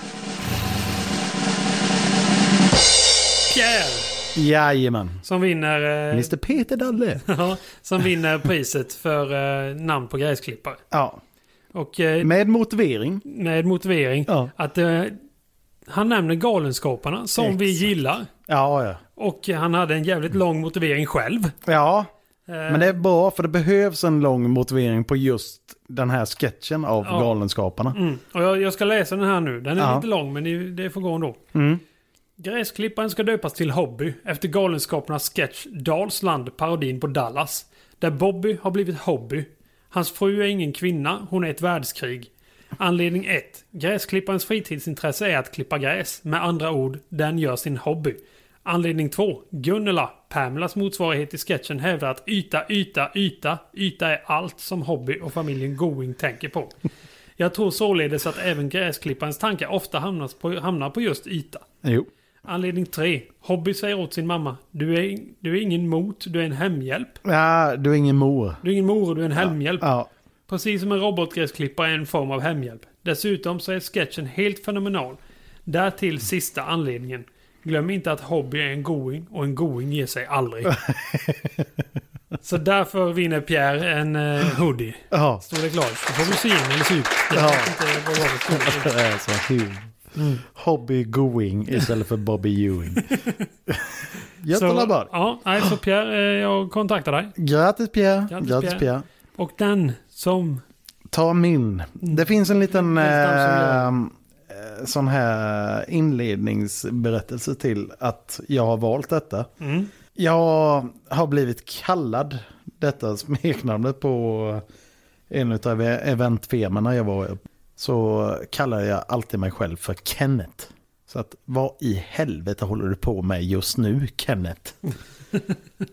Pierre
Jajamän.
Som vinner, eh,
Mr Peter Dalle.
ja, som vinner priset för eh, namn på gräsklippare.
Ja,
Och eh,
med motivering.
med motivering
Ja,
att eh, han nämner Galenskaparna som vi
Exakt.
gillar.
ja, ja.
Och han hade en jävligt lång motivering själv. Eh,
ja. Men det är bra för det behövs en lång motivering på just den här sketchen av
Ja.
Galenskaparna.
Mm. Och jag, jag ska läsa den här nu. Den är
Ja.
lite lång men det, det får gå ändå.
Mm.
Gräsklipparen ska döpas till Hobby efter Galenskaparnas sketch Dalsland, parodin på Dallas. Där Bobby har blivit Hobby. Hans fru är ingen kvinna, hon är ett världskrig. Anledning 1. Gräsklipparens fritidsintresse är att klippa gräs. Med andra ord, den gör sin hobby. Anledning 2. Gunnela, Pamelas motsvarighet i sketchen, hävdar att yta, yta, yta, yta är allt som Hobby och familjen Going tänker på. Jag tror således att även gräsklipparens tankar ofta hamnas på, hamnar på just yta.
Jo.
Anledning 3. Hobby säger åt sin mamma. Du är, in- du är ingen mot, du är en hemhjälp.
Ja, du är ingen mor.
Du är ingen mor, du är en hemhjälp.
Ja,
Precis som en robotgräsklippare är en form av hemhjälp. Dessutom så är sketchen helt fenomenal. Därtill sista anledningen. Glöm inte att Hobby är en going och en going ger sig aldrig. så därför vinner Pierre en eh, hoodie.
ja.
Storlek large. Då får vi se in eller se ut. Jag
Ja.
vet inte vad jag vill säga.
Det är så hur. Mm. Hobby going istället för Bobby Ewing.
Så-
Jättelabbad.
Ja, nej, så Pierre, eh, jag kontaktar dig.
Grattis Pierre.
Grattis,
Grattis Pierre.
Och den som
Ta min. Det finns en liten
Det är
eh,
en
eh, sån här inledningsberättelse till att jag har valt detta.
Mm.
Jag har blivit kallad detta smeknamnet på en av eventfirmorna jag var i. Så kallar jag alltid mig själv för Kenneth. Så att vad i helvete håller du på med just nu Kenneth?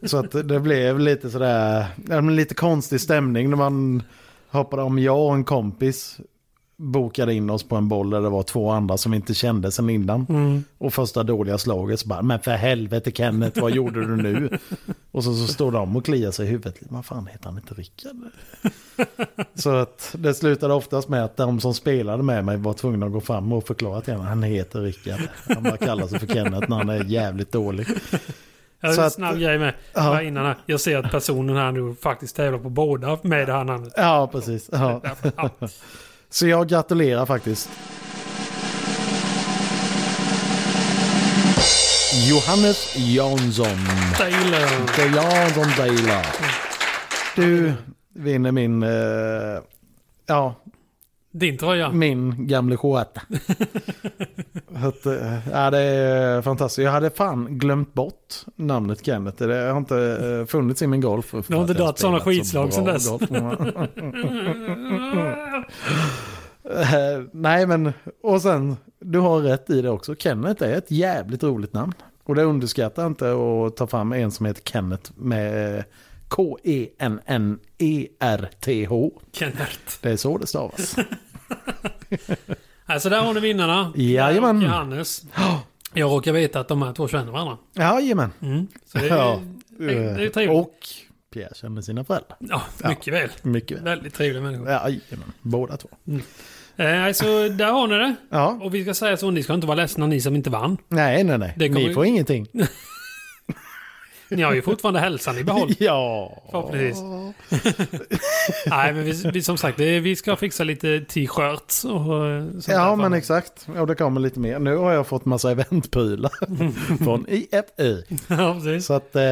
så att det blev lite sådär, ja, men lite konstig stämning när man hoppade om jag och en kompis bokade in oss på en boll där det var två andra som vi inte kände sen innan. Och första dåliga slaget så bara, men för helvete Kenneth, vad gjorde du nu? och så, så står de och kliar sig i huvudet, vad fan heter han inte Rickard? så att det slutade oftast med att de som spelade med mig var tvungna att gå fram och förklara till honom, han heter Rickard. Han bara kallar sig för Kenneth när han är jävligt dålig.
Jag
Så
har en
att-
snabb grej med. Bara innan här. Jag ser att personen här nu faktiskt tävlar på båda med det här namnet.
Ja, precis. Ja.
Ja.
Så jag gratulerar faktiskt. Johannes Jansson.
Taylor.
Det är Jansson Dejla. Du vinner min, eh, ja,
Din tröja.
min gamle Joata. Att, eh, ja, det är fantastiskt. Jag hade fan glömt bort namnet Kenneth. Det har inte eh, funnits i min golf.
Du har inte
För att jag
dragit sådana
spelat så bra
skitslag sedan dess.
golf. Eh, nej men, och sen, du har rätt i det också. Kenneth är ett jävligt roligt namn. Och det underskattar inte att ta fram en som heter Kenneth med eh, E K-E-N-N-E-R-T-H.
Kenneth.
Det är så det stavas.
Alltså där har ni vinnarna.
Jajamän.
Och Johannes. Jag råkar veta att de här två känner varandra.
Jajamän.
Mm. Så det är,
Ja.
det är, det är trevligt.
Eh, Och Pierre känner sina föräldrar.
ja, mycket väl.
Mycket väl.
Väldigt trevliga människor.
Jajamän, båda två.
Eh, alltså där har ni det.
Ja,
Och vi ska säga så, ni ska inte vara ledsna ni som inte vann.
nej nej nej.
Det kommer-
Ni får ingenting.
Ni har ju fortfarande hälsan i behåll.
Ja.
Förhoppningsvis. Nej, men vi, vi, som sagt, det- vi ska fixa lite t-shirts och eh, sånt
Ja
där.
men exakt, och det kommer lite mer. Nu har jag fått massa eventprylar från IFI.
ja, precis.
Så att, eh,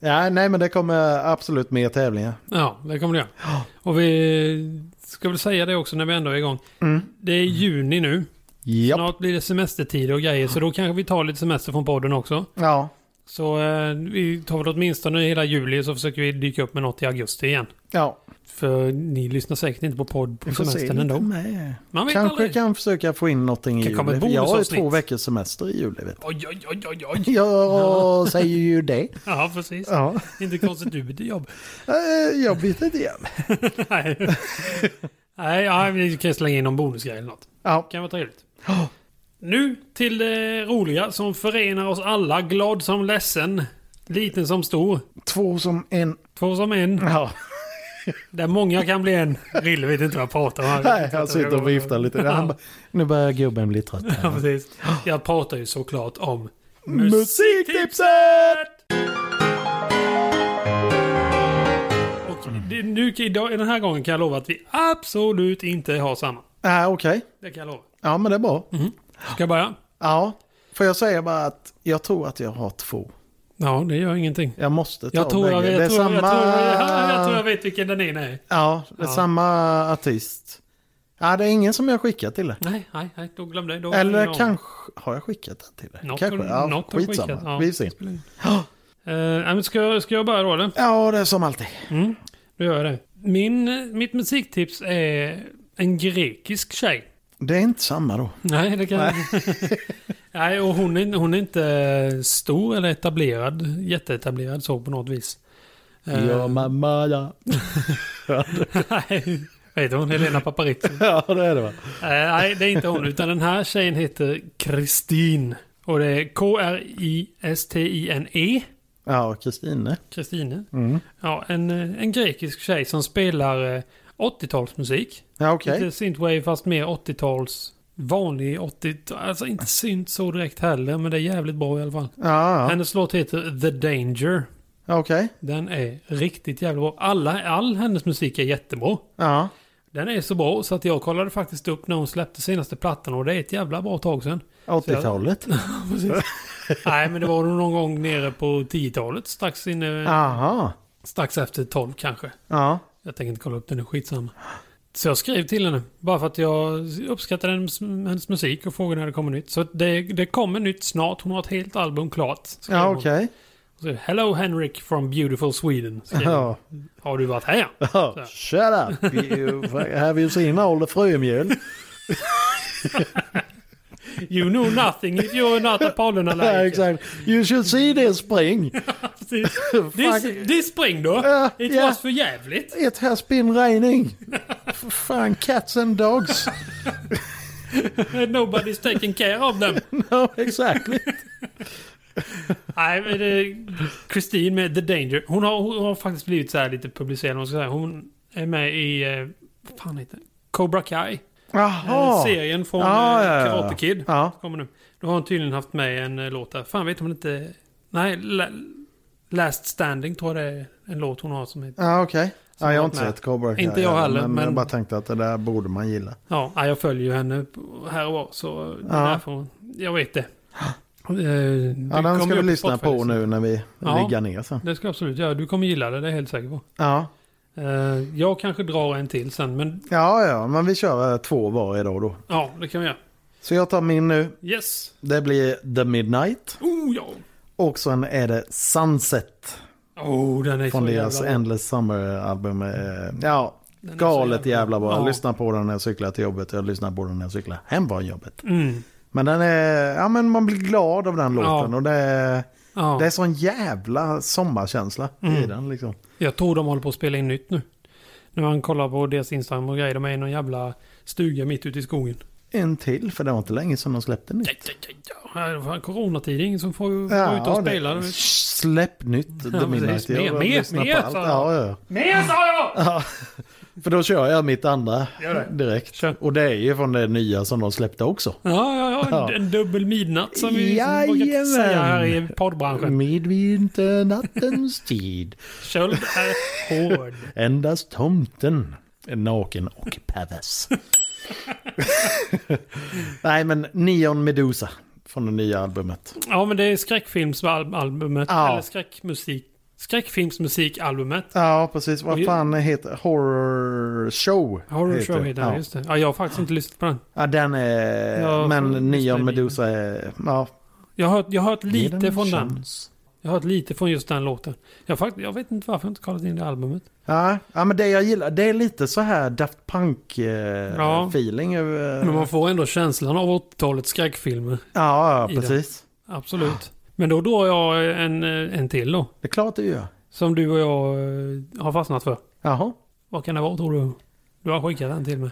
ja, nej men det kommer absolut mer tävlingar.
Ja, det kommer det göra. Och vi ska väl säga det också när vi ändå är igång.
Mm,
Det är juni nu.
Japp.
Snart blir det semestertider och grejer, så då kanske vi tar lite semester från podden också.
Ja,
Så eh, vi tar väl åtminstone hela juli, så försöker vi dyka upp med något i augusti igen.
ja.
För ni lyssnar säkert inte på podd på
vi får se.
semestern ändå.
Nej.
Man vet
Kanske
aldrig.
kan försöka få in någonting i
Kan komma
juli.
ett
för Jag har ju
bonusavsnitt.
två veckors semester i juli. Vet
Oj, oj, oj, oj, oj.
du. Jag säger ju det.
Ja, precis.
Ja.
Inte konstigt du byter jobb.
Eh, Jag byter inte igen.
Nej. Nej, ja, vi kan slänga in någon bonusgrej eller något.
Ja.
Kan vara trevligt. Nu till det roliga som förenar oss alla, glad som ledsen, liten som stor.
Två som en.
Två som en,
Ja.
där många kan bli en. Rille vet inte vad jag pratar om. Han vet
Nej,
inte
han
vad
sitter och viftar lite. Han bara, nu börjar gubben bli trött.
Ja, precis. Jag pratar ju såklart om
Musiktipset!
Och det, nu, idag, den här gången kan jag lova att vi absolut inte har samma.
Nej, okej.
Det kan jag lova.
Ja, men det är bra.
Ska jag börja?
Ja, får jag säga bara att jag tror att jag har två.
Ja, det gör ingenting.
Jag måste ta
Jag tror jag,
bägge.
vet-
det är
jag, tror,
samma...
jag, tror, jag, jag tror jag vet vilken den är. Nej,
Ja, det är
Ja.
samma artist. Ja, det är ingen som jag har skickat till det.
nej, nej, nej då glömde jag. Då
Eller
Ja.
kanske... Har jag skickat den till det?
Något
kanske.
har-
Ja,
något har
skitsamma.
skickat, ja.
Vi får se.
Eh, nej, men ska, jag- ska jag börja då eller?
Ja, det är som alltid.
Mm, då gör jag det. Min, mitt musiktips är en grekisk tjej.
Det är inte samma då.
Nej, det kan Nej, och hon är, hon är inte stor eller etablerad. Jätteetablerad så på något vis. Eh,
Ja, mamma, ja.
nej, vad heter hon? Helena Paparizou. Eh,
Ja, det är det va?
nej, det är inte hon. Utan den här tjejen heter Kristin. Och det är K-R-I-S-T-I-N-E.
Ja, Kristine.
Kristine.
Mm.
E. Ja, en, eh, en grekisk tjej som spelar eh, 80-talsmusik.
Ja, okej.
Lite synthwave fast mer 80-tals. Vanlig 80 Alltså inte synt så direkt heller, men det är jävligt bra i alla fall.
Ja, ja.
Hennes låt heter The Danger.
ja okej.
Den är riktigt jävla bra. Alla, all hennes musik är jättebra.
Ja.
Den är så bra så att jag kollade faktiskt upp när hon släppte senaste plattan och det är ett jävla bra tag sedan.
80-talet.
Nej, men det var nog någon gång nere på 10-talet. Strax, inne,
Aha.
strax efter 12 kanske.
Ja.
Jag tänker inte kolla upp den, det är skitsamma. Så jag skrev till henne, bara för att jag uppskattar hennes, hennes musik och frågade när det kommer nytt. Så det, det kommer nytt snart, hon har ett helt album klart. skrev
Ja,
hon.
okej.
Så, Hello Henrik from beautiful Sweden. skrev hon.
Ja.
Har du varit här?
Ja, Shut up! You, have you seen all the frömjöl?
You know nothing if you're not a pollenallergiker.
Ja, exakt. You should see this spring.
Precis. This,
Fuck.
this spring då?
Ja,
It
ja.
was för jävligt.
It has been raining. F- Fan, cats and dogs.
Nobody's taking care of them.
No, exactly.
Nej, men det, Christine med The Danger. Hon har, hon har faktiskt blivit så här lite publicerad. Hon, ska säga. hon är med i... eh, Vad fan heter det? Cobra Kai. Eh,
Jaha. Ah,
Serien från
Ja,
eh,
ja, ja.
Karate Kid.
Ja.
Kommer nu. Då har hon tydligen haft med en eh, låt där. Fan vet hon inte... Nej, La, Last Standing tror jag det är en låt hon har som heter...
Ja, okej. Ja, jag har inte
Nej.
sett Cobra Kai
Inte jag heller,
Men jag
men-
bara tänkte att det där borde man gilla.
Ja, nej, jag följer ju henne på- här och var. Så det
Ja.
är därför hon- jag vet det. Eh, det
Ja, den
kommer
ska vi
upp i
lyssna
Spotify,
på nu när vi
Ja.
ligger ner sen.
Det ska jag absolut göra. Du kommer gilla det, det är jag helt säker på.
Ja.
Eh, jag kanske drar en till sen, men
ja, ja, men vi kör eh, två var idag då.
ja, det kan vi göra.
Så jag tar min nu.
Yes!
Det blir The Midnight.
Oh ja!
Och sen är det Sunset.
Oh, den är
Från
så
deras
jävla bra.
Endless Summer-album. eh, Ja,
Den är så
galet jävla bra. Jag
Ja.
lyssnar på den när jag cyklar till jobbet. Jag lyssnar på den när jag cyklar hem från jobbet.
Mm.
Men den är, ja men man blir glad av den
Ja.
låten. Och det är,
Ja.
det är sån jävla sommarkänsla i
Mm.
den liksom.
Jag tror de håller på att spela in nytt nu. När man kollar på deras Instagram och grejer, de är i någon jävla stuga mitt ute i skogen.
En till, för det var inte länge sedan de släppte nytt.
Ja, ja, ja, ja. Här, fan, Coronatid, ingen som får får vara ute och
Ja, det-
spela.
Släpp nytt. The
precis.
Midnight.
Mer,
Jag
mer,
lyssnar på
mer,
allt.
sa jag.
Ja, ja.
Mer sa jag!
Ja, för då kör jag mitt andra
Gör det.
direkt.
Kör.
Och det är ju från det nya som de släppte också.
Ja, ja, ja. En, en dubbel midnatt som vi som vi brukar
Jajamän.
säga här i poddbranschen.
Midvinternattens tid.
Köld är hård.
Endast tomten är naken och pervers. Nej men Neon Medusa från det nya albumet.
Ja, men det är skräckfilmsalbumet.
Ja.
Eller skräckmusik. Skräckfilmmusikalbumet.
Ja precis,
Och
vad
ju-
fan heter Horror Show?
Horror
heter.
show heter den,
ja.
just det. Ja, jag har faktiskt inte lyssnat på den.
ja den är,
Ja,
men
från-
Neon
just det.
Medusa är, ja.
Jag har, hört- jag har hört
ge
lite
en
från den.
chans.
Jag har hört lite från just den låten. Jag, har fakt- jag vet inte varför jag inte kollat in det albumet.
Ja, ja, men det jag gillar, det är lite så här Daft Punk-feeling. Eh,
Ja.
feeling över-
Men man får ändå känslan av 80-talets skräckfilmer.
Ja,
i
ja, precis.
Absolut. Men då drar jag en, eh, en till då.
Det är klart du gör.
Som du och jag eh, har fastnat för.
Jaha.
Vad kan det vara tror du? Du har skickat den till mig.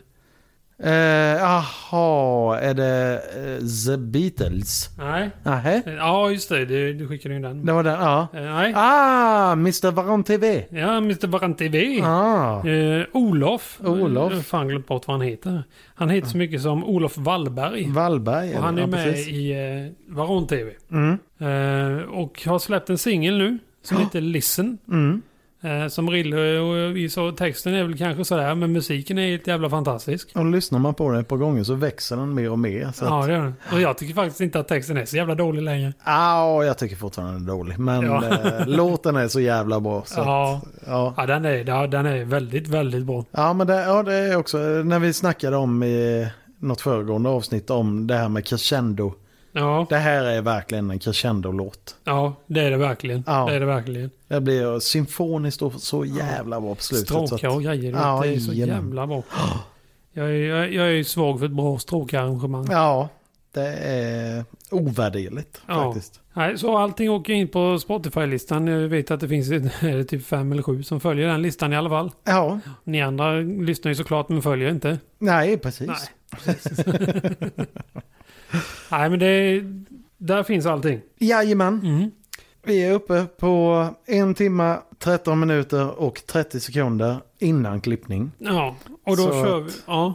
Eh, aha, är det eh, The Beatles?
Nej.
Nähä,
Ja, just det. Du, du skickade ju den.
det var den. Ja.
Eh, nej.
Ah, Mr. Varan TV.
Ja, Mr. Barant TV.
Ah.
Eh, Olof.
Olof.
Jag har fan glömt bort vad han heter. Han heter så mycket som Olof Wallberg.
Wallberg.
Och han är
Mm. ja,
med
precis.
i eh, Varon TV.
Mm,
Eh, och har släppt en singel nu som heter Listen.
mm.
Eh, som Rille och vi sa, texten är väl kanske sådär, men musiken är helt jävla fantastisk.
Och lyssnar man på den ett par gånger så växer den mer och mer. Så
Ja,
att,
det är den. Och jag tycker faktiskt inte att texten är så jävla dålig längre.
ah, jag tycker fortfarande den är dålig. Men
Ja.
eh, låten är så jävla bra. Så att,
Ja,
ja.
ja den, är, ja, den är väldigt, väldigt bra.
Ja, men det, ja, det är också eh, när vi snackade om i något föregående avsnitt om det här med crescendo.
Ja,
Det här är verkligen en crescendo-låt.
ja det är det verkligen.
Ja.
Det är det verkligen.
Det blir symfoniskt och så jävla bra på slutet. så att-
Stråkar och grejer. du vet,
Ja,
det är så
jajamän.
jävla bra. Jag är, jag, jag är ju svag för ett bra stråkarrangemang.
Ja, det är ovärderligt
Ja.
faktiskt.
Nej, så allting åker in på Spotify-listan. Jag vet att det finns ett- är det typ fem eller sju som följer den listan i alla fall.
Ja,
Ni andra lyssnar ju såklart men följer inte.
nej precis.
Nej. Nej, men det... Där finns allting.
Jajamän,
Mm.
vi är uppe på en timma, 13 minuter och 30 sekunder innan klippning.
Ja, och då
Så
kör vi... Ja.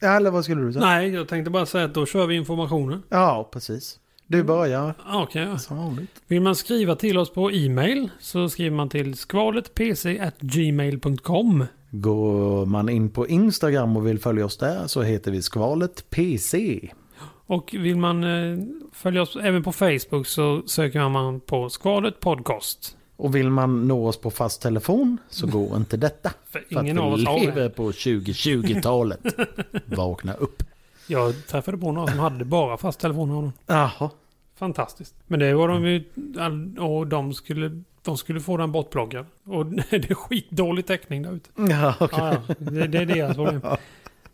Ja, Eller vad skulle du säga?
Nej, jag tänkte bara säga att då kör vi informationen.
Ja, precis. Du börjar
Ja, Okej. ja.
som vanligt.
Vill man skriva till oss på e-mail så skriver man till skvaletpc.gmail.com.
Går man in på Instagram och vill följa oss där så heter vi skvalet PC.
Och vill man eh, följa oss även på Facebook så söker man på Skvalet Podcast.
Och vill man nå oss på fast telefon så går inte detta.
För
För
ingen
att
av
vi
oss har
lever
det.
på 2020-talet. Vakna upp.
Jag träffade på några som hade bara fast telefon av honom.
Jaha.
Fantastiskt. Men det var de ju... all- Och de skulle, de skulle få den bortplockad. Och det är skitdålig täckning där ute.
Ja, okej.
Ja, ja. Det, det är deras problem.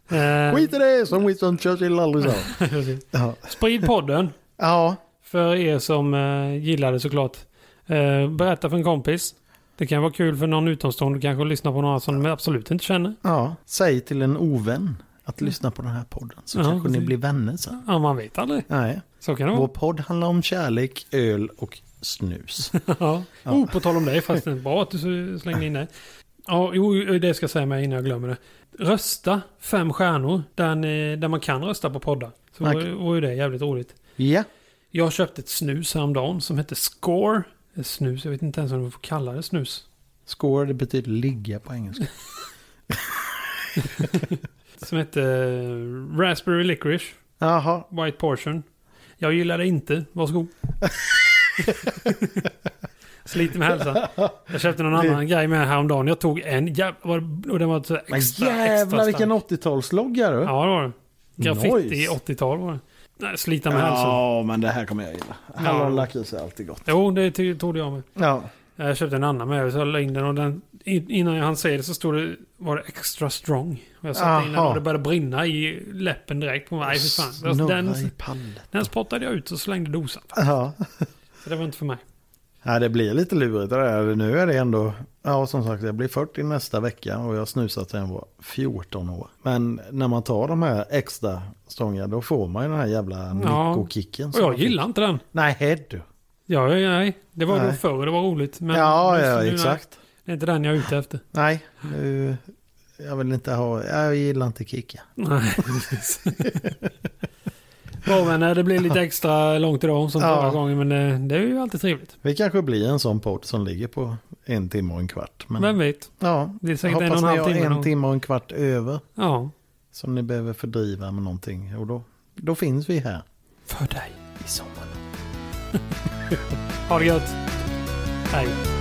Eh,
Skit i det som Winston Churchill aldrig sa. Ja.
Sprid podden.
ja,
För er som eh, gillar det såklart. Eh, berätta för en kompis. Det kan vara kul för någon utomstående kanske att lyssna på några som de absolut inte känner.
ja. Säg till en ovän att lyssna på den här podden så
Ja,
kanske ni
precis.
blir vänner sen.
Ja, man vet aldrig.
Nej.
Så kan det
Vår
vara.
podd handlar om kärlek, öl och snus.
Ja. Oh, på tal om det, fast det är bra att du slängde in det. Ja, jo, det ska jag säga med innan jag glömmer det. Rösta fem stjärnor där, ni, där man kan rösta på poddar. Så
Tack.
vore, vore det jävligt roligt.
Ja,
Jag köpte ett snus häromdagen som hette Score. Snus, jag vet inte ens om man får kalla det snus.
score det betyder ligga på engelska.
Som hette eh, Raspberry Licorice.
Jaha,
White Portion. Jag gillar det inte. Varsågod. Sliter med hälsan. Jag köpte någon annan grej med häromdagen. Jag tog en jävla... Och den var så
men
extra, extra
jävlar
stark.
vilken 80-talslogga du.
Ja, det var det. Graffiti
Nice.
80-tal var det. Nej, Slita med hälsan.
Ja, men det här kommer jag gilla. Hallon lakrits är alltid gott.
Jo, det ty- trodde jag med.
Ja.
Jag köpte en annan med. Så jag la in den och den, in- innan jag hann se det så stod det, var det extra strong. Och jag satte in den
Aha.
och det började brinna i läppen direkt. Och, Nej, för fan. Alltså,
Snurra
Den,
i pallen.
den spottade jag ut och slängde dosan.
Ja.
Så det var inte för mig.
Ja, det blir lite lurigt det där. Nu är det ändå, ja som sagt jag blir 40 nästa vecka och jag har snusat sedan jag var 14 år. Men när man tar de här extra stångarna då får man ju den här jävla
Ja.
nyckokicken.
Och jag gillar Mm, inte den.
Nej, du.
Ja, ja, nej. Det var då
Nej.
förr det var roligt. Men
Ja,
nu-
ja,
nu-
exakt.
Det är inte den jag är ute efter.
Nej, nu, jag vill inte ha, jag gillar inte kicka.
Nej, precis. Bra vänner, det blir lite extra långt idag som
Ja.
förra gången. Men det, det är ju alltid trevligt.
Vi kanske blir en sån podd som ligger på en timme och en kvart. Men,
Vem vet?
ja,
Det är säkert en och
hoppas
en
ni
halv
har
timme.
en
någon-
timme och en kvart över
Ja,
som ni behöver fördriva med någonting. Och då, då finns vi här
för dig.
i sommar.
Ha det gött. Hej.